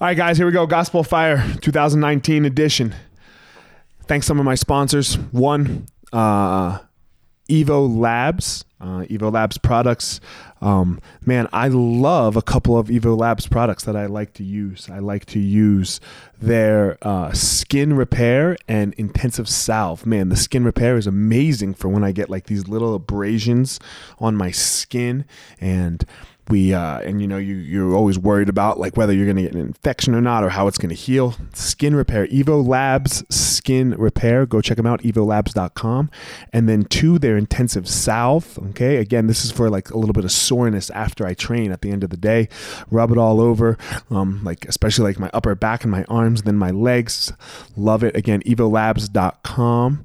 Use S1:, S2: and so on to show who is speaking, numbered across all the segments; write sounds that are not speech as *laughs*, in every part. S1: All right, guys, here we go. Gospel of Fire 2019 edition. Thanks some of my sponsors. One, uh, Evo Labs, uh, Evo Labs products. Um, man, I love a couple of Evo Labs products that I like to use. I like to use their uh, skin repair and intensive salve. Man, the skin repair is amazing for when I get like these little abrasions on my skin and we uh, and you know you you're always worried about like whether you're going to get an infection or not or how it's going to heal skin repair evo labs skin repair go check them out evolabs.com and then two their intensive salve okay again this is for like a little bit of soreness after i train at the end of the day rub it all over um, like especially like my upper back and my arms then my legs love it again evolabs.com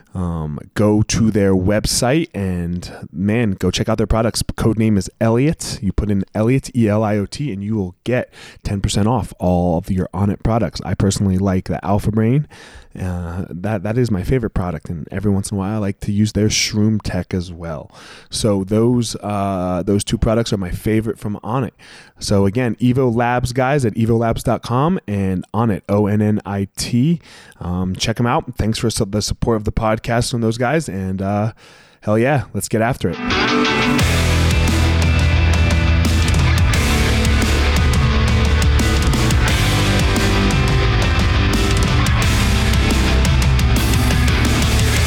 S1: Um, go to their website and man, go check out their products. Code name is Elliot. You put in Elliot E L I O T, and you will get ten percent off all of your Onnit products. I personally like the Alpha Brain. Uh, that that is my favorite product, and every once in a while I like to use their Shroom Tech as well. So those uh, those two products are my favorite from Onnit. So again, Evo Labs guys at evolabs.com and Onnit O N N I T. Um, check them out. Thanks for su- the support of the podcast from those guys, and uh, hell yeah, let's get after it.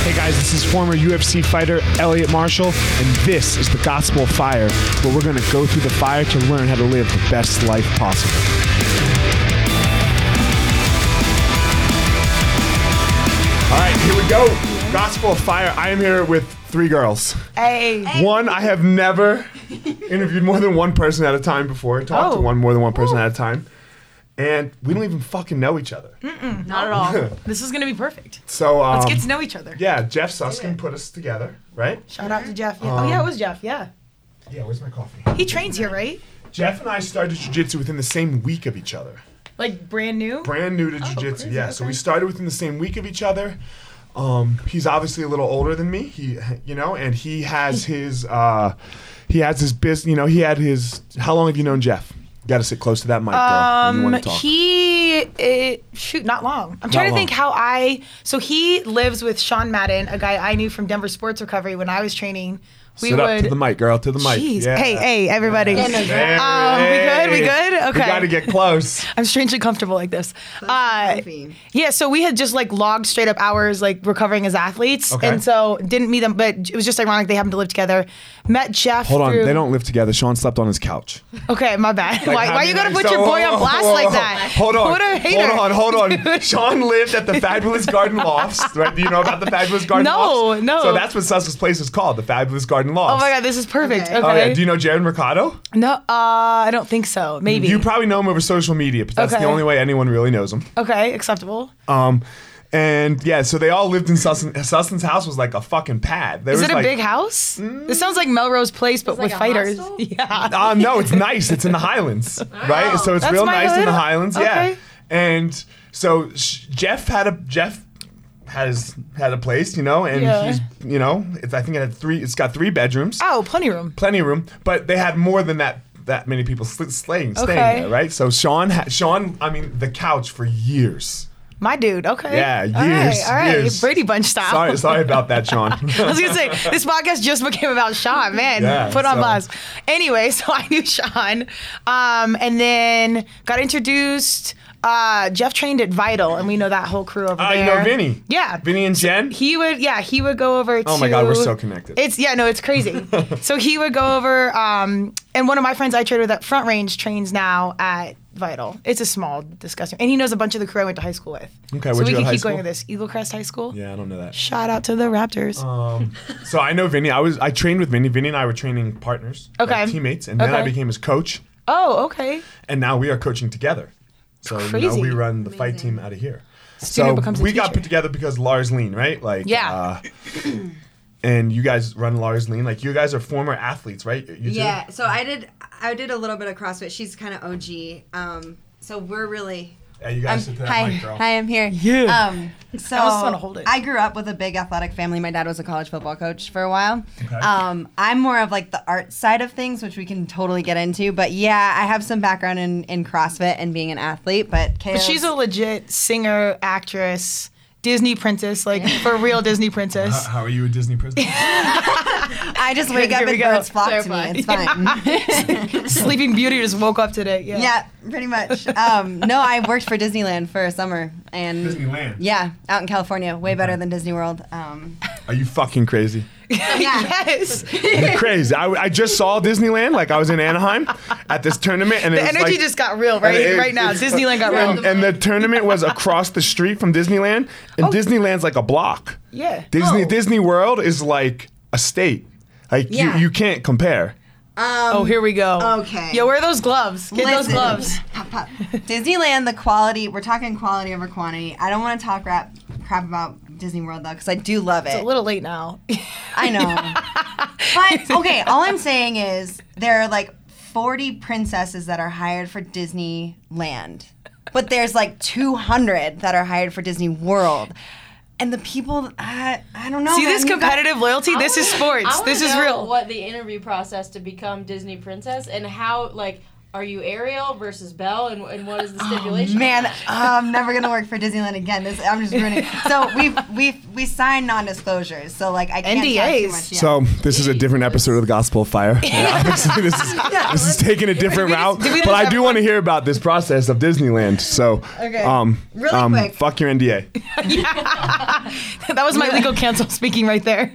S1: Hey guys, this is former UFC fighter Elliot Marshall, and this is the Gospel of Fire, where we're going to go through the fire to learn how to live the best life possible. All right, here we go. Gospel of Fire. I am here with three girls.
S2: Hey.
S1: One, I have never interviewed more than one person at a time before. Talked
S2: Oh.
S1: to one more than one person at a time, and we don't even fucking know each other.
S3: Not at
S1: *laughs*
S3: all. this is gonna be perfect.
S1: So um,
S3: Hmm. Let's get to know each other.
S1: Yeah, Jeff Suskin put us together, right?
S2: Shout out to Jeff.
S1: Um,
S2: Yeah.
S3: Oh yeah, it was Jeff. Yeah,
S1: Yeah, where's my coffee?
S2: he trains here, right?
S1: Jeff and I started jujitsu within the same week of each other.
S3: like brand new.
S1: Brand
S2: Oh,
S1: new to jujitsu,
S3: crazy,
S1: yeah. So we
S3: okay.
S1: started within the same week of each other. Um, he's obviously a little older than me. He, you know, and he
S2: *laughs*
S1: has his, uh, he has his business. You know, he had his. How long have you known Jeff? You got to sit close to that mic, girl. when you
S2: Um,
S1: wanna talk.
S2: he uh, shoot, not long. I'm trying to
S1: long.
S2: think how I. So he lives with Sean Madden, a guy I knew from Denver Sports Recovery when I was training. We
S1: sit
S2: would.
S1: up to the mic, girl. To the mic.
S2: Jeez.
S1: Yeah.
S2: Hey, hey, everybody.
S1: There
S2: Um, we
S1: it
S2: good? We
S1: is.
S2: good?
S1: We
S2: Okay.
S1: got to get
S2: *laughs*
S1: close.
S2: I'm strangely comfortable like this. Uh,
S3: caffeine.
S2: yeah, so we had just like logged straight up hours like recovering as athletes,
S1: Okay.
S2: and so didn't meet them. But it was just ironic they happened to live together. Met Jeff.
S1: Hold on,
S2: through-
S1: they don't live together. Sean slept on his couch.
S2: Okay, my bad. why
S1: how
S2: why
S1: many
S2: you gotta
S1: nights-
S2: put your
S1: Oh,
S2: boy
S1: *laughs* oh,
S2: on blast
S1: oh,
S2: like
S1: oh,
S2: that?
S1: Hold on.
S2: What a hater.
S1: Hold
S2: *laughs*
S1: on, hold on. Sean lived at the Fabulous Garden Lofts. Right? Do you know about the Fabulous Garden
S2: No,
S1: Lofts?
S2: no.
S1: So that's what Sussex Place is called, the Fabulous Garden Lofts.
S2: Oh my god, this is perfect. Okay.
S3: Okay.
S1: Oh, yeah. Do you know Jared Mercado?
S2: no, uh, I don't think so. Maybe.
S1: You probably know him over social media, but that's
S2: Okay.
S1: the only way anyone really knows him.
S2: okay, acceptable.
S1: Um, and yeah, so they all lived in Sussex. Sussen's house was like a fucking pad. There
S2: Is
S1: was
S2: it a
S1: like, mm.
S2: big house? This sounds like Melrose Place, but
S3: like
S2: with
S3: a
S2: fighters. *laughs*
S3: hostel?
S2: Yeah.
S1: Uh, no, it's nice. It's in the Highlands,
S2: *laughs*
S1: right? So it's
S2: That's
S1: real
S2: my
S1: nice in
S2: hood.
S1: the Highlands. Yeah.
S2: Okay.
S1: And so sh- Jeff had a Jeff has had a place, you know, and
S2: Yeah.
S1: he's you know, it's I think it had three. It's got three bedrooms,
S2: Oh, plenty of room.
S1: plenty of room, but they had more than that. That many people sl- slaying, staying
S2: Okay.
S1: there, right? So Sean, ha- Sean, I mean, the couch for years.
S2: My dude. Okay.
S1: Yeah, years.
S2: All right. All right.
S1: years.
S2: Brady Bunch style.
S1: Sorry, sorry about that,
S2: *laughs*
S1: Sean. *laughs*
S2: I was gonna say this podcast just became about Sean, man.
S1: Yeah,
S2: Put on
S1: so-
S2: blast. Anyway, *laughs* so I knew Sean, um, and then got introduced. Uh, Jeff trained at Vital, and we know that whole crew over
S1: Ah,
S2: there.
S1: you know Vinny.
S2: Yeah,
S1: Vinny and Jen.
S2: He would, yeah, he would go over to.
S1: Oh my God, we're so connected.
S2: It's yeah, no,
S1: *laughs*
S2: it's crazy. so he would go over, um, and one of my friends I trained with at Front Range trains now at Vital. It's a small, disgusting, and he knows a bunch of the crew I went to high school with.
S1: Okay,
S2: so
S1: where'd
S2: we
S1: you go to
S2: can
S1: high
S2: keep going
S1: school?
S2: with this Eagle Crest High School.
S1: yeah, I don't know that.
S2: Shout out to the Raptors.
S1: So I know Vinny. I was I trained with Vinny. Vinny and I were training partners, like
S2: Okay.
S1: teammates, and then I
S2: Okay.
S1: became his coach,
S2: oh, okay.
S1: and now we are coaching together. So you know
S2: Crazy.
S1: we run the fight team out of here.
S2: Student
S1: so
S2: becomes a
S1: we got
S2: teacher.
S1: put together because Lars Lean, right? Like,
S2: Yeah.
S1: Uh, and you guys run Lars Lean. Like, you guys are former athletes, right? You two?
S4: Yeah, so I did I did a little bit of CrossFit. She's kind of OG. Um, so we're really
S1: Yeah, you
S4: I'm,
S1: guys sit to that
S4: Um, hi,
S1: mic, girl.
S4: hi, I'm here.
S2: Yeah.
S4: Um, so
S2: I was trying to hold it.
S4: I grew up with a big athletic family. My dad was a college football coach for a while.
S1: Okay.
S4: Um, I'm more of like the art side of things, which we can totally get into. But yeah, I have some background in, in CrossFit and being an athlete. But,
S2: But she's a legit singer, actress, Disney princess, like for real Disney *laughs* princess.
S1: How are you a Disney
S4: *laughs*
S1: princess?
S4: *laughs* I just wake
S2: *laughs*
S4: up
S2: Here we
S4: and
S2: go.
S4: birds flock to
S2: Clarify.
S4: me. It's fine.
S2: *laughs* Sleeping Beauty just woke up today. Yeah.
S4: Yeah, pretty much. Um, no, I worked for Disneyland for a summer, and
S1: Disneyland.
S4: yeah, out in California, way better than Disney World. Um,
S1: Are you fucking crazy?
S4: yeah,
S2: *laughs* Yes. The
S1: You're crazy. I, I just saw Disneyland. Like I was in Anaheim at this tournament, and it was
S2: energy
S1: like,
S2: just got real right
S1: and it-
S2: right now.
S1: *laughs*
S2: Disneyland got real.
S1: And, and the tournament was across the street from Disneyland, and Disneyland's like a block.
S2: Oh. Yeah.
S1: Disney
S4: Oh.
S1: Disney World is like a state. Like
S4: Yeah.
S1: you, you can't compare.
S2: oh, here we go.
S4: okay.
S2: Yo, where are those gloves? Get those
S4: um, Listen.
S2: gloves.
S4: *laughs* Pop, pop. Disneyland, the quality. We're talking quality over quantity. I don't want to talk rap, crap about Disney World though, because I do love
S2: A
S4: it.
S2: little late now. *laughs*
S4: I know. but okay, all I'm saying is there are like 40 princesses that are hired for Disneyland, but there's like 200 that are hired for Disney World. And the people, I, I don't know.
S2: See this
S4: man.
S2: competitive loyalty? This is
S5: wanna-
S2: sports.
S5: I wanna
S2: This is
S5: know
S2: real.
S5: What the interview process to become Disney princess and how like are you Ariel versus Belle and, and what is
S2: Oh,
S5: the stipulation?
S4: Man, I'm never gonna work for Disneyland again. This I'm just ruining. it. So we we we signed non-disclosures. So like I can't talk too
S2: NDAs.
S4: much. yet.
S1: So this is a different episode of the Gospel of
S2: *laughs*
S1: Fire. Yeah, obviously this is, this is taking a different
S2: we just-
S1: route,
S2: did we
S1: but
S2: just
S1: I
S2: have
S1: do
S2: fun?
S1: want to hear about this process of Disneyland. So,
S4: Okay.
S1: um,
S4: Really
S1: um,
S4: quick.
S1: fuck your
S2: *laughs*
S1: NDA.
S2: that *laughs* was my legal counsel speaking right there.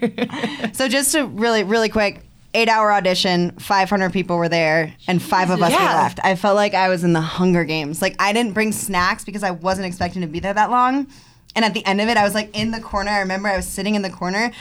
S4: So just to really, really quick, eight hour audition, 500 people were there, and five of us
S2: Yeah.
S4: were left. I felt like I was in the Hunger Games. Like, I didn't bring snacks because I wasn't expecting to be there that long. And at the end of it, I was like in the corner. I remember I was sitting in the corner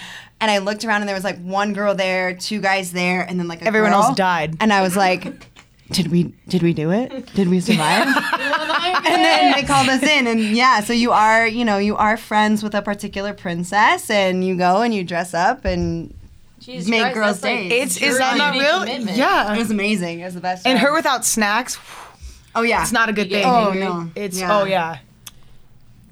S4: and I looked around and there was like one girl there, two guys there, and then like a
S2: Everyone
S4: girl.
S2: else died.
S4: And I was like, did we did we do it? Did we
S2: *laughs*
S4: survive? and then they called us in and yeah so you are you know you are friends with a particular princess and you go and you dress up and
S5: Jesus
S4: Make
S5: Christ,
S4: girls
S5: that's, like,
S4: days.
S2: It's is that
S5: Really
S2: not
S5: big
S2: real?
S5: commitment.
S4: it
S2: Yeah.
S4: was amazing it was the best
S2: And
S4: time.
S2: her without snacks,
S4: oh yeah
S2: it's not a good thing.
S4: Oh, no.
S2: It's
S4: Yeah.
S2: oh yeah.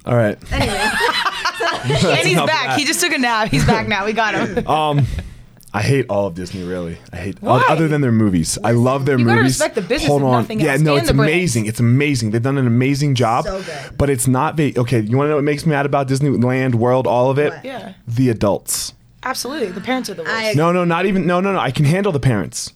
S1: All right.
S2: *laughs*
S4: anyway
S2: And he's
S1: Enough of
S2: back.
S1: that.
S2: He just took a nap. He's back now. We
S1: *laughs*
S2: got him.
S1: Um, I hate all of Disney. Really, I hate
S2: Why?
S1: other than their movies. I love their
S2: You gotta
S1: movies.
S2: respect the business
S1: Hold
S2: if
S1: on,
S2: nothing
S1: yeah,
S2: else,
S1: no,
S2: and
S1: it's
S2: the brands.
S1: amazing. It's amazing. They've done an amazing job.
S4: So good.
S1: But it's not. Va- okay, you want to know what makes me mad about Disneyland World? All of it.
S4: What?
S2: Yeah.
S1: The adults.
S2: Absolutely. The parents are the worst.
S4: I-
S1: No, no, not even. No, no, no. I can handle the parents.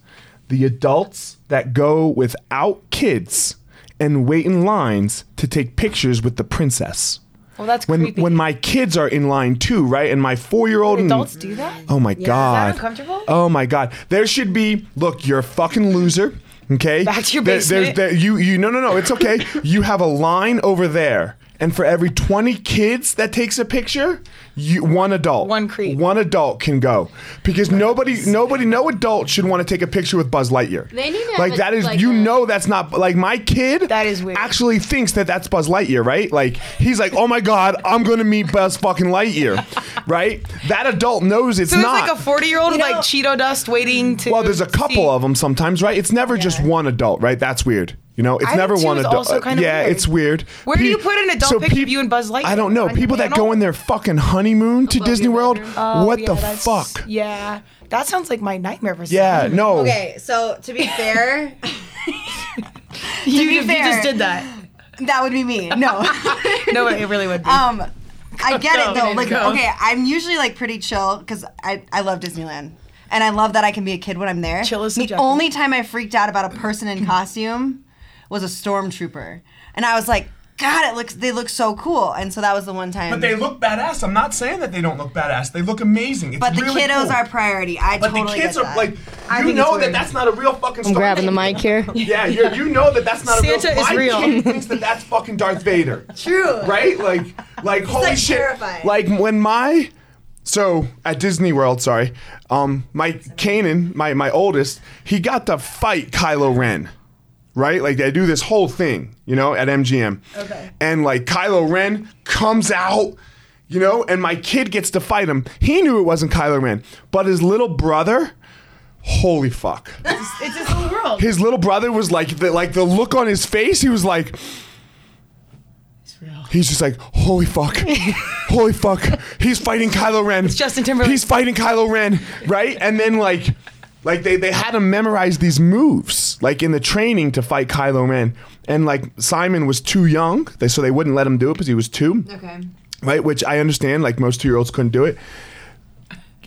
S1: The adults that go without kids and wait in lines to take pictures with the princess.
S2: well, that's
S1: When
S2: creepy.
S1: when my kids are in line too, right? And my four year old
S2: adults do that?
S1: Oh my god.
S2: uncomfortable?
S1: Oh my god. There should be look, you're a fucking loser. Okay?
S2: Back to your
S1: There- there's-
S2: basement.
S1: there- you you no no no, it's
S2: *laughs*
S1: okay. you have a line over there. And for every 20 kids that takes a picture, you, one adult,
S2: One creep.
S1: one adult can go because nobody, nobody, no adult should want to take a picture with Buzz Lightyear.
S5: They need to
S1: like
S5: have a-
S1: that is,
S5: like
S1: you
S5: a-
S1: know, that's not like my kid.
S2: That is weird.
S1: Actually, thinks that that's Buzz Lightyear, right? Like he's like, oh my god, I'm gonna meet Buzz fucking Lightyear, right? That adult knows it's
S2: so there's
S1: not.
S2: like a 40 year old with
S4: You know-
S2: like Cheeto dust waiting to.
S1: Well, there's a couple
S2: see-
S1: of them sometimes, right? It's never just one adult, right? That's weird. You know, it's
S2: Item
S1: never
S2: two
S1: one
S2: is
S1: adult.
S2: also kind of
S1: yeah,
S2: weird.
S1: it's weird.
S2: Where do you put an adult picture of you and Buzz Lightyear?
S1: I don't know.
S2: On your
S1: People that
S2: mantle?
S1: go in their fucking honeymoon to
S5: Above
S1: Disney
S5: your
S1: World,
S5: bedroom.
S2: Oh,
S1: what
S2: yeah,
S1: the
S2: that's-
S1: fuck?
S2: Yeah. That sounds like my nightmare for
S1: Yeah,
S2: some-
S1: no.
S4: okay so to be fair
S2: *laughs* You,
S4: be
S2: you just
S4: fair.
S2: did that.
S4: *laughs* that would be me *laughs* no
S2: No, it really would be.
S4: *laughs* um I get it
S2: Go,
S4: though. Like,
S2: go.
S4: okay, I'm usually like pretty chill because I, I love Disneyland and I love that I can be a kid when I'm there.
S2: Chill is
S4: the
S2: subjective.
S4: only time I freaked out about a person
S2: *laughs*
S4: in costume was a stormtrooper, and I was like, God, it looks they look so cool, and so that was the one time.
S1: look badass. I'm not saying that they don't look badass. They look amazing. It's
S4: But the kiddos are priority. I totally get that.
S2: you think it's know that weird. that's
S1: not a real fucking. I'm
S5: here.
S1: Yeah, you're, you know that that's not
S2: Santa is
S1: my
S2: real.
S1: kid thinks that that's fucking Darth
S2: *laughs*
S1: Vader.
S4: True.
S1: *laughs* Right? Like, like holy
S4: like,
S1: shit!
S4: terrifying.
S1: Like when my so at Disney World, sorry, um, my Kanan, my my oldest, he got to fight Kylo Ren. right? Like they do this whole thing, you know, at MGM.
S3: Okay.
S1: And like Kylo Ren comes out, you know, and my kid gets to fight him. He knew it wasn't Kylo Ren, but his little brother, holy fuck.
S3: It's his whole world.
S1: His little brother was like the like the look on his face, he was like
S3: It's real.
S1: He's just like, holy fuck, holy fuck. He's fighting Kylo Ren. It's
S2: Justin Timberlake.
S1: He's fighting Kylo Ren, right? And then like, like they they had him memorize these moves, like in the training to fight Kylo Ren. And like Simon was too young, they, so they wouldn't let him do it because he was two,
S5: Okay.
S1: right? Which I understand. Like most two year olds couldn't do it.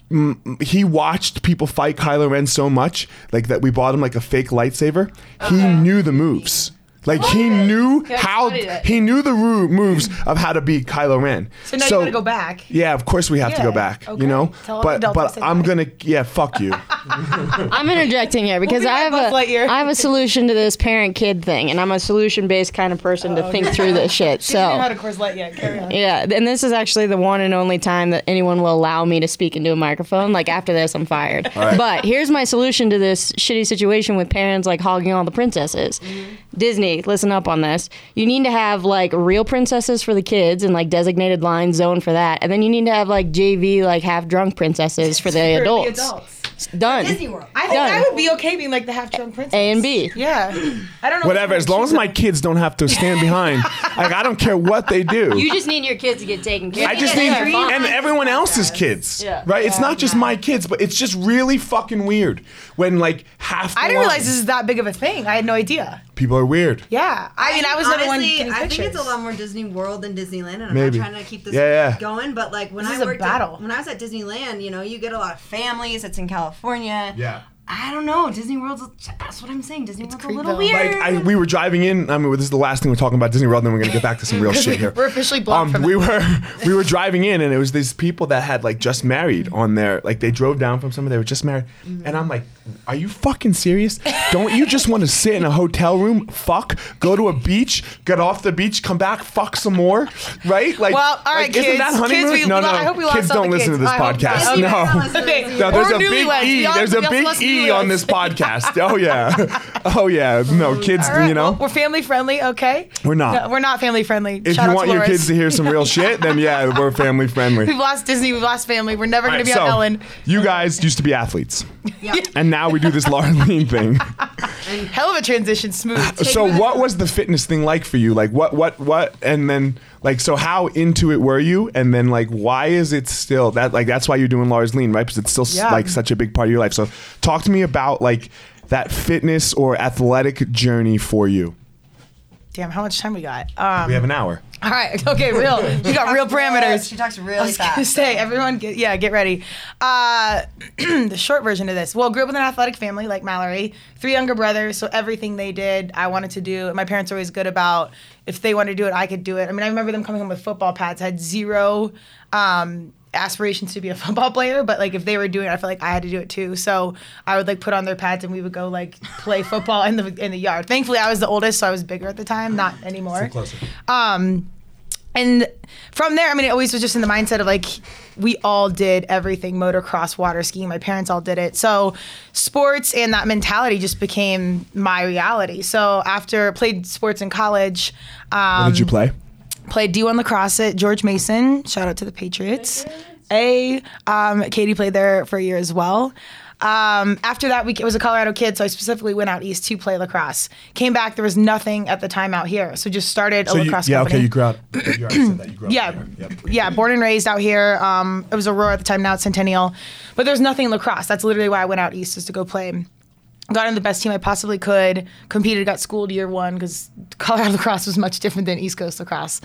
S1: Mm, He watched people fight Kylo Ren so much, like that we bought him like a fake lightsaber. He knew the moves. Like he knew
S5: Yeah, I
S1: how
S5: studied it.
S1: he knew the ru- moves of how to beat Kylo Ren.
S2: So now you gotta go back.
S1: Yeah, of course we have to go
S2: Yeah,
S1: back.
S2: okay.
S1: You know,
S2: Tell
S1: but
S2: adults to
S1: but
S2: say
S1: I'm
S2: bye.
S1: gonna yeah fuck
S2: *laughs*
S1: you.
S5: I'm interjecting here because
S2: be
S5: I
S2: right
S5: have
S2: back,
S5: a
S2: Lightyear.
S5: I have a solution to this parent kid thing, and I'm a solution based kind of person to think through this
S2: *laughs*
S3: I
S5: shit.
S3: didn't know how
S5: So
S3: to Coors Light yet. Carry on.
S5: yeah, and this is actually the one and only time that anyone will allow me to speak into a microphone. Like after this, I'm fired. But here's my solution to this shitty situation with parents like hogging all the princesses. Disney, listen up on this. You need to have like real princesses for the kids and like designated line zone for that, and then you need to have like JV like half drunk princesses *laughs* for the adults. Done.
S4: Disney World.
S3: I think
S5: Done.
S3: I would be okay being like the half drunk princess.
S5: A and B.
S3: Yeah. I don't know.
S1: Whatever, as long as my kids don't have to
S2: *laughs*
S1: stand behind. like I don't care what they do.
S5: You just need your kids to get taken care of.
S1: I just need and everyone else's kids,
S5: Yeah.
S1: right? It's not just my kids, but it's just really fucking weird when like half. The
S2: I didn't
S1: line-
S2: realize this is that big of a thing. I had no idea.
S1: people are weird.
S2: Yeah, I mean, I was the one.
S4: Honestly,
S2: getting
S4: I think it's
S2: pictures.
S4: a lot more Disney World than Disneyland, and I'm
S1: Maybe.
S4: not trying to keep this
S1: Yeah, yeah.
S4: going. But like when
S2: This
S4: I
S2: is a
S4: worked
S2: battle.
S4: At, when I was at Disneyland, you know, you get a lot of families. It's in California.
S1: Yeah.
S4: I don't know. Disney World's. That's what I'm saying. Disney World's a little
S2: creepy.
S4: weird.
S1: Like I, we were driving in. I mean, this is the last thing we're talking about Disney World. Then we're gonna get back to
S2: *laughs*
S1: some real shit here. Um,
S2: We're officially blocked from
S1: we were
S2: *laughs*
S1: we were driving in, and it was these people that had like just married on their like they drove down from somewhere they were just married,
S2: Mm-hmm.
S1: and I'm like, are you fucking serious? Don't you just want to sit in a hotel room, fuck, go to a beach, get off the beach, come back, fuck some more, right? Like,
S2: Well, all right,
S1: like, isn't that
S2: kids. Kids,
S1: honeymoon?
S2: we-
S1: no,
S2: we-
S1: no,
S2: I hope we lost
S1: kids
S2: all
S1: don't
S2: the
S1: listen to this
S2: kids. I hope-
S1: podcast. *laughs*
S2: Disney
S1: no.
S2: *laughs* Okay.
S1: No, there's
S2: Or
S1: a big
S2: newlyweds.
S1: E.
S2: We all-
S1: there's a
S2: we also
S1: big
S2: lost
S1: E on this podcast.
S2: *laughs*
S1: Oh yeah, oh yeah. No kids,
S2: All right,
S1: you know.
S2: well, we're family friendly, okay?
S1: We're not.
S2: No, we're not family friendly.
S1: if
S2: Shout
S1: you
S2: out
S1: want
S2: to
S1: your
S2: Laura's.
S1: kids to hear some real shit, then yeah, we're family friendly.
S2: *laughs* we've lost Disney, we've lost family. We're never going to be
S1: so
S2: on Ellen.
S1: you guys used to be athletes, *laughs*
S4: yeah.
S1: and now we do
S2: *laughs*
S1: this Laura Lean thing.
S2: Hell of a transition, smooth.
S1: *laughs* so, what was the fitness thing like for you? Like, what, what, what, and then like, so how into it were you? And then like, why is it still that like that's why you're doing Laura's Lean, right? Because it's still s
S2: Yeah.
S1: like such a big part of your life. So, talk to me about like that fitness or athletic journey for you.
S2: Damn, how much time we got? Um,
S1: We have an hour.
S2: all right, *laughs* okay, real. You got real parameters.
S4: She talks
S2: I
S4: really
S2: was gonna
S4: fast.
S2: say, everyone, get, yeah, get ready. Uh, *clears throat* the short version of this. Well, grew up with an athletic family like Mallory, three younger brothers, so everything they did, I wanted to do. And my parents were always good about if they wanted to do it, I could do it. I mean, I remember them coming home with football pads. I had zero um, aspirations to be a *laughs* football player, but like if they were doing it, I felt like I had to do it too. So I would like put on their pads and we would go like play football in the in the yard. Thankfully, I was the oldest, so I was bigger at the time. Not anymore Um, and from there, I mean, it always was just in the mindset of like, we all did everything motocross, water skiing. My parents all did it. So, sports and that mentality just became my reality. So, after played sports in college, um,
S1: What did you play?
S2: played D1 lacrosse at George Mason. Shout out to the Patriots. A um, Katie played there for a year as well. Um, after that, we, it was a Colorado kid, so I specifically went out east to play lacrosse. Came back, there was nothing at the time out here, so just started a
S1: So you-
S2: lacrosse
S1: yeah,
S2: company
S1: okay, you grew up. you already said that, you grew up
S2: yeah,
S1: there. Yep.
S2: yeah, born and raised out here. Um, it was Aurora at the time, now it's Centennial. But there's nothing in lacrosse. That's literally why I went out east is to go play. Got on the best team I possibly could. Competed, got schooled year one because Colorado *laughs* lacrosse was much different than East Coast lacrosse.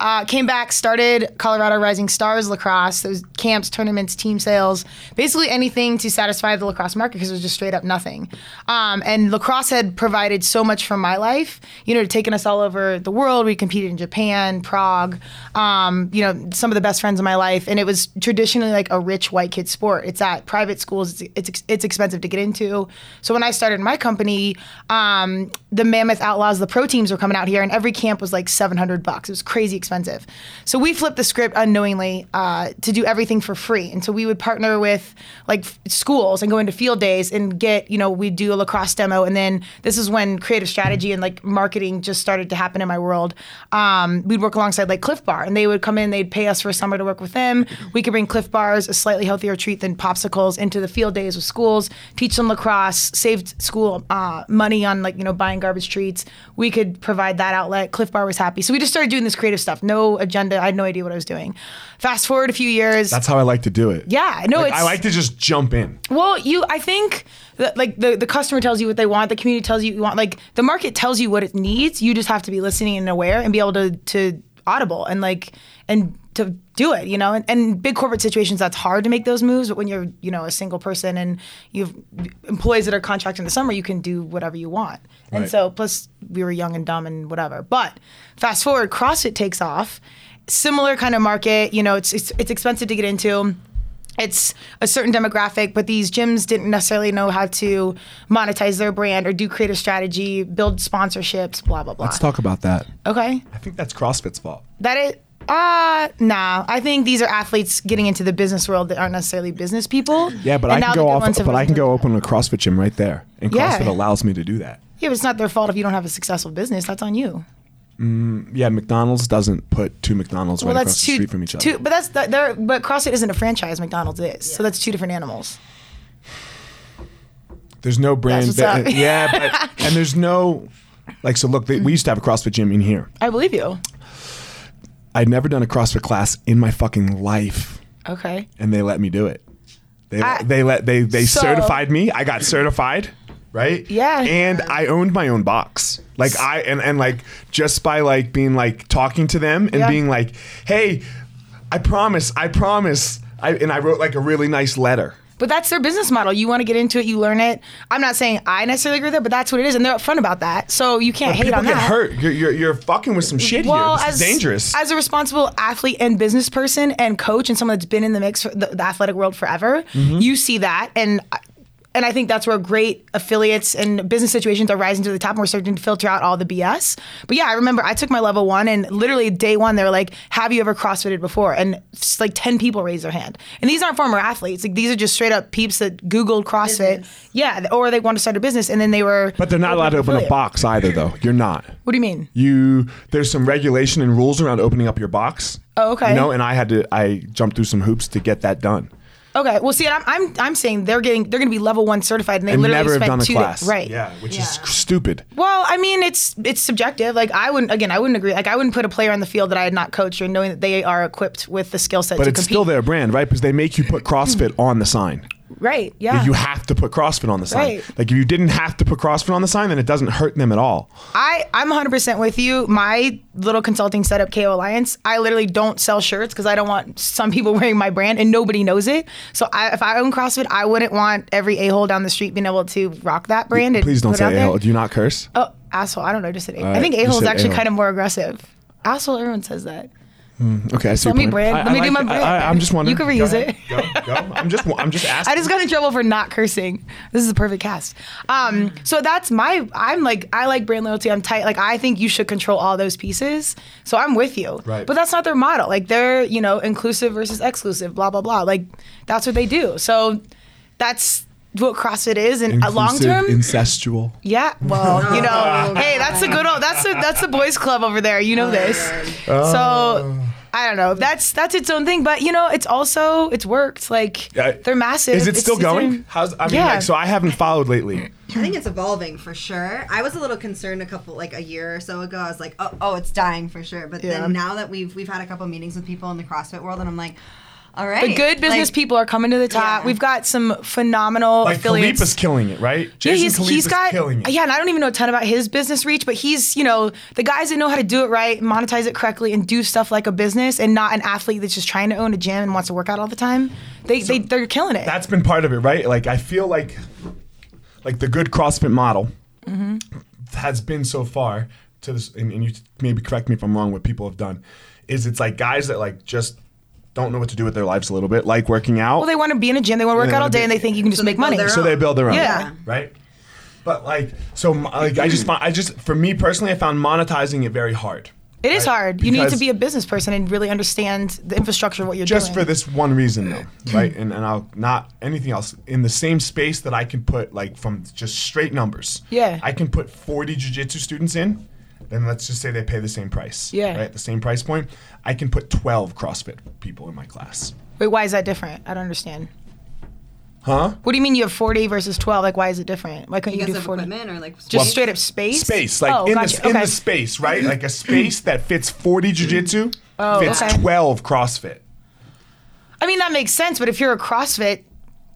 S2: Uh, came back, started Colorado Rising Stars lacrosse. Those camps, tournaments, team sales, basically anything to satisfy the lacrosse market because it was just straight up nothing. Um, and lacrosse had provided so much for my life. You know, taken us all over the world. We competed in Japan, Prague. Um, you know, some of the best friends of my life, and it was traditionally like a rich white kid sport. It's at private schools. It's it's, it's expensive to get into. So when when I started my company, um, the Mammoth Outlaws, the pro teams were coming out here, and every camp was like 700 bucks. It was crazy expensive. So we flipped the script unknowingly uh, to do everything for free. And so we would partner with like f- schools and go into field days and get, you know, we'd do a lacrosse demo. And then this is when creative strategy and like marketing just started to happen in my world. Um, we'd work alongside like Cliff Bar, and they would come in, they'd pay us for a summer to work with them. We could bring Cliff Bars, a slightly healthier treat than popsicles, into the field days with schools, teach them lacrosse, saved school uh, money on like, you know, buying garbage treats. We could provide that outlet. Cliff Bar was happy. So we just started doing this creative stuff. No agenda. I had no idea what I was doing. Fast forward a few years.
S1: That's how I like to do it.
S2: yeah, no, it's
S1: I like to just jump in.
S2: well, you, I think that like the, the customer tells you what they want, the community tells you what you want, like the market tells you what it needs. You just have to be listening and aware and be able to to audible and like and to do it, you know. And, and big corporate situations, that's hard to make those moves. But when you're you know a single person and you have employees that are contracting the summer, you can do whatever you want. And
S1: Right.
S2: so plus we were young and dumb and whatever. But fast forward, CrossFit takes off. Similar kind of market, you know, it's it's, it's expensive to get into it's a certain demographic, but these gyms didn't necessarily know how to monetize their brand or do creative strategy, build sponsorships, blah blah blah.
S1: Let's talk about that.
S2: okay,
S1: I think that's CrossFit's fault.
S2: that is uh nah. I think these are athletes getting into the business world that aren't necessarily business people.
S1: Yeah, but
S2: And
S1: I
S2: now
S1: can
S2: the
S1: go
S2: good
S1: off.
S2: ones have
S1: But I
S2: risen
S1: can
S2: to-
S1: go open a CrossFit gym right there, and
S2: Yeah.
S1: CrossFit allows me to do that.
S2: Yeah, but it's not their fault if you don't have a successful business. That's on you.
S1: Yeah, McDonald's doesn't put two McDonald's
S2: Well,
S1: right
S2: that's
S1: across
S2: two,
S1: the street from each other.
S2: two. But that's that- they're but CrossFit isn't a franchise. McDonald's is. So that's two different animals.
S1: There's no brand.
S2: That's what's
S1: ba-
S2: up. *laughs*
S1: yeah, but, and there's no like. So look, they, we used to have a CrossFit gym in here.
S2: I believe you.
S1: I'd never done a CrossFit class in my fucking life,
S2: Okay.
S1: and they let me do it. They
S2: I-
S1: they let they they
S2: So-
S1: certified me. I got certified, right?
S2: Yeah.
S1: And I owned my own box. Like I and and like just by like being like talking to them and
S2: Yeah.
S1: being like, hey, I promise, I promise. I, and I wrote like a really nice letter.
S2: But that's their business model. You want to get into it, you learn it. I'm not saying I necessarily agree with that, but that's what it is, and they're upfront about that. So you can't hate
S1: People
S2: on
S1: get
S2: that.
S1: hurt. You're, you're you're fucking with some shit
S2: Well,
S1: here. This
S2: as
S1: is dangerous.
S2: as a responsible athlete and business person and coach and someone that's been in the mix for the, the athletic world forever,
S1: Mm-hmm.
S2: you see that and. And I think that's where great affiliates and business situations are rising to the top, and we're starting to filter out all the BS. But yeah, I remember I took my level one, and literally day one, they were like, "Have you ever CrossFitted before?" And s- like ten people raised their hand. And these aren't former athletes; like these are just straight up peeps that Googled CrossFit, yeah, or they want to start a business, and then they were.
S1: But they're not allowed to open a
S2: affiliate.
S1: box either, though. You're not.
S2: What do you mean?
S1: You there's some regulation and rules around opening up your box.
S2: Oh, okay.
S1: You know, and I had to I jumped through some hoops to get that done.
S2: Okay. Well, see, and I'm I'm, I'm saying they're getting they're going to be level one certified, and they
S1: And
S2: literally
S1: never have
S2: spent
S1: done a
S2: two
S1: class.
S2: days, right?
S1: Yeah, which is stupid.
S2: Well, I mean, it's it's subjective. Like I wouldn't again, I wouldn't agree. Like I wouldn't put a player on the field that I had not coached, or knowing that they are equipped with the skill set
S1: But
S2: to
S1: it's
S2: compete.
S1: still their brand, right? Because they make you put CrossFit on the sign.
S2: right? Yeah.
S1: You have to put CrossFit on the sign.
S2: Right.
S1: Like if you didn't have to put CrossFit on the sign, then it doesn't hurt them at all.
S2: I I'm 100 percent with you. My little consulting setup, KO Alliance. I literally don't sell shirts because I don't want some people *laughs* wearing my brand and nobody knows it. So I, if I own CrossFit, I wouldn't want every a hole down the street being able to rock that brand. and
S1: Please don't
S2: put it out
S1: say
S2: there.
S1: a Do you not curse?
S2: Oh, asshole. I don't know. I Just said a- I
S1: right,
S2: think
S1: you
S2: a hole is
S1: said
S2: actually
S1: a-hole.
S2: kind of more aggressive. Asshole, everyone says that.
S1: okay, I see. your
S2: let Uh, me
S1: point.
S2: brand-
S1: I-
S2: let
S1: I
S2: me do
S1: like
S2: my
S1: it.
S2: brand.
S1: I, am just wondering.
S2: You can
S1: Go
S2: reuse
S1: ahead. Go, go. I'm just. I'm just asking.
S2: *laughs* I just got in trouble for not cursing. This is a perfect cast. Um, so that's my. I'm like I like brand loyalty. I'm tight. Like I think you should control all those pieces. So I'm with you.
S1: Right.
S2: But that's not their model. Like they're you know inclusive versus exclusive. Blah blah blah. Like that's what they do. So that's what CrossFit is. And uh, long
S1: Inclusive,
S2: term,
S1: incestual.
S2: Yeah,
S1: *laughs*
S2: well, you know, hey, that's the good old that's the that's the boys club over there. You know this,
S1: Oh.
S2: so I don't know. That's that's its own thing, but you know, it's also it's worked. Like
S1: Yeah.
S2: they're massive.
S1: Is it
S2: It's-
S1: still
S2: it's
S1: going?
S2: in-
S1: How's I mean,
S2: Yeah.
S1: like, so I haven't followed lately.
S4: I think it's evolving for sure. I was a little concerned a couple like a year or so ago. I was like, oh, oh it's dying for sure. But
S2: Yeah.
S4: then now that we've we've had a couple meetings with people in the CrossFit world, and I'm like, all right,
S2: the good business
S4: like,
S2: people are coming to the top.
S4: Yeah.
S2: We've got some phenomenal
S1: Like
S2: affiliates.
S1: Khalifa's killing it, right?
S2: Yeah,
S1: Jason
S2: he's,
S1: Khalifa's
S2: he's got
S1: killing it.
S2: yeah, and I don't even know a ton about his business reach, but he's you know the guys that know how to do it right, monetize it correctly, and do stuff like a business, and not an athlete that's just trying to own a gym and wants to work out all the time. They they they're killing it.
S1: That's been part of it, right? Like I feel like like the good CrossFit model
S2: Mm-hmm.
S1: has been so far to this and, and you maybe correct me if I'm wrong what people have done is it's like guys that like just don't know what to do with their lives a little bit, like working out.
S2: Well, they want to be in a gym. They want to work
S1: they
S2: out
S1: wanna
S2: all day,
S1: be-
S2: and they think you can just
S4: So they
S2: make money.
S4: build their
S1: so they build their own.
S2: Yeah.
S1: Right? But like, so mo- like, I just, fi- I just, for me personally, I found monetizing it very hard.
S2: It is
S1: Right.
S2: hard. You need to
S1: Because-
S2: be a business person and really understand the infrastructure of what you're
S1: Just for
S2: doing.
S1: this one reason,
S2: *clears throat*
S1: though, right? And and I'll not anything else in the same space that I can put like from just straight numbers.
S2: Yeah.
S1: I can put forty jujitsu students in, then let's just say they pay the same price.
S2: Yeah.
S1: Right, the same price point. I can put twelve CrossFit people in my class.
S2: Wait, why is that different? I don't understand.
S1: Huh?
S2: What do you mean you have 40 versus 12? Like, why is it different? Why couldn't you,
S4: Because
S2: do
S4: of
S2: 40?
S4: equipment or like
S2: Just straight up space?
S1: Space, like
S2: oh,
S1: in,
S2: gotcha.
S1: the, in
S2: Okay.
S1: the space, right?
S2: *clears throat*
S1: Like a space that fits 40 jujitsu, fits
S2: Oh, okay.
S1: 12 CrossFit.
S2: I mean, that makes sense, but if you're a CrossFit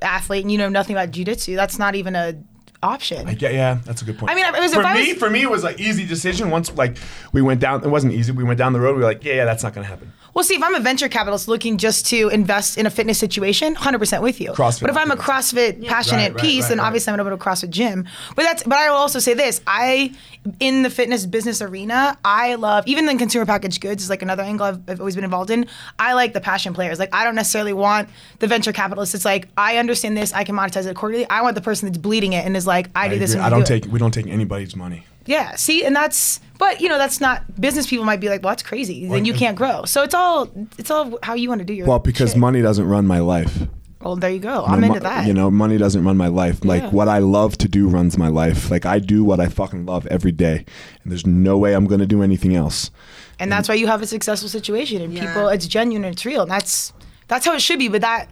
S2: athlete and you know nothing about jiu-jitsu, that's not even a option.
S1: Yeah, yeah, that's a good point.
S2: I mean, it was-
S1: for
S2: if I
S1: me,
S2: was-
S1: for me, it was like easy decision. Once like we went down, it wasn't easy. We went down the road. We were like, yeah, yeah, that's not gonna happen.
S2: Well, see, if I'm a venture capitalist looking just to invest in a fitness situation, 100% with you.
S1: CrossFit
S2: But if I'm a
S1: afterwards.
S2: CrossFit passionate
S1: Right, right,
S2: piece,
S1: right,
S2: then
S1: right.
S2: obviously I'm going to go to a CrossFit gym. But that's. But I will also say this: I, in the fitness business arena, I love even in consumer packaged goods is like another angle I've, I've always been involved in. I like the passion players. Like I don't necessarily want the venture capitalist. It's like I understand this, I can monetize it accordingly. I want the person that's bleeding it and is like, I, do this. And
S1: I don't
S2: do it.
S1: take. We don't take anybody's money.
S2: Yeah, see, and that's but you know that's not business people might be like, well, that's crazy. Then you
S1: and-
S2: can't grow. So it's all it's all how you want to do your.
S1: Well, because
S2: shit.
S1: money doesn't run my life.
S2: Well, there you go. I'm into that.
S1: You know, money doesn't run my life.
S2: Yeah.
S1: Like what I love to do runs my life. Like I do what I fucking love every day, and there's no way I'm gonna do anything else.
S2: and that's why you have a successful situation and people. It's genuine and it's real. And that's that's how it should be. But that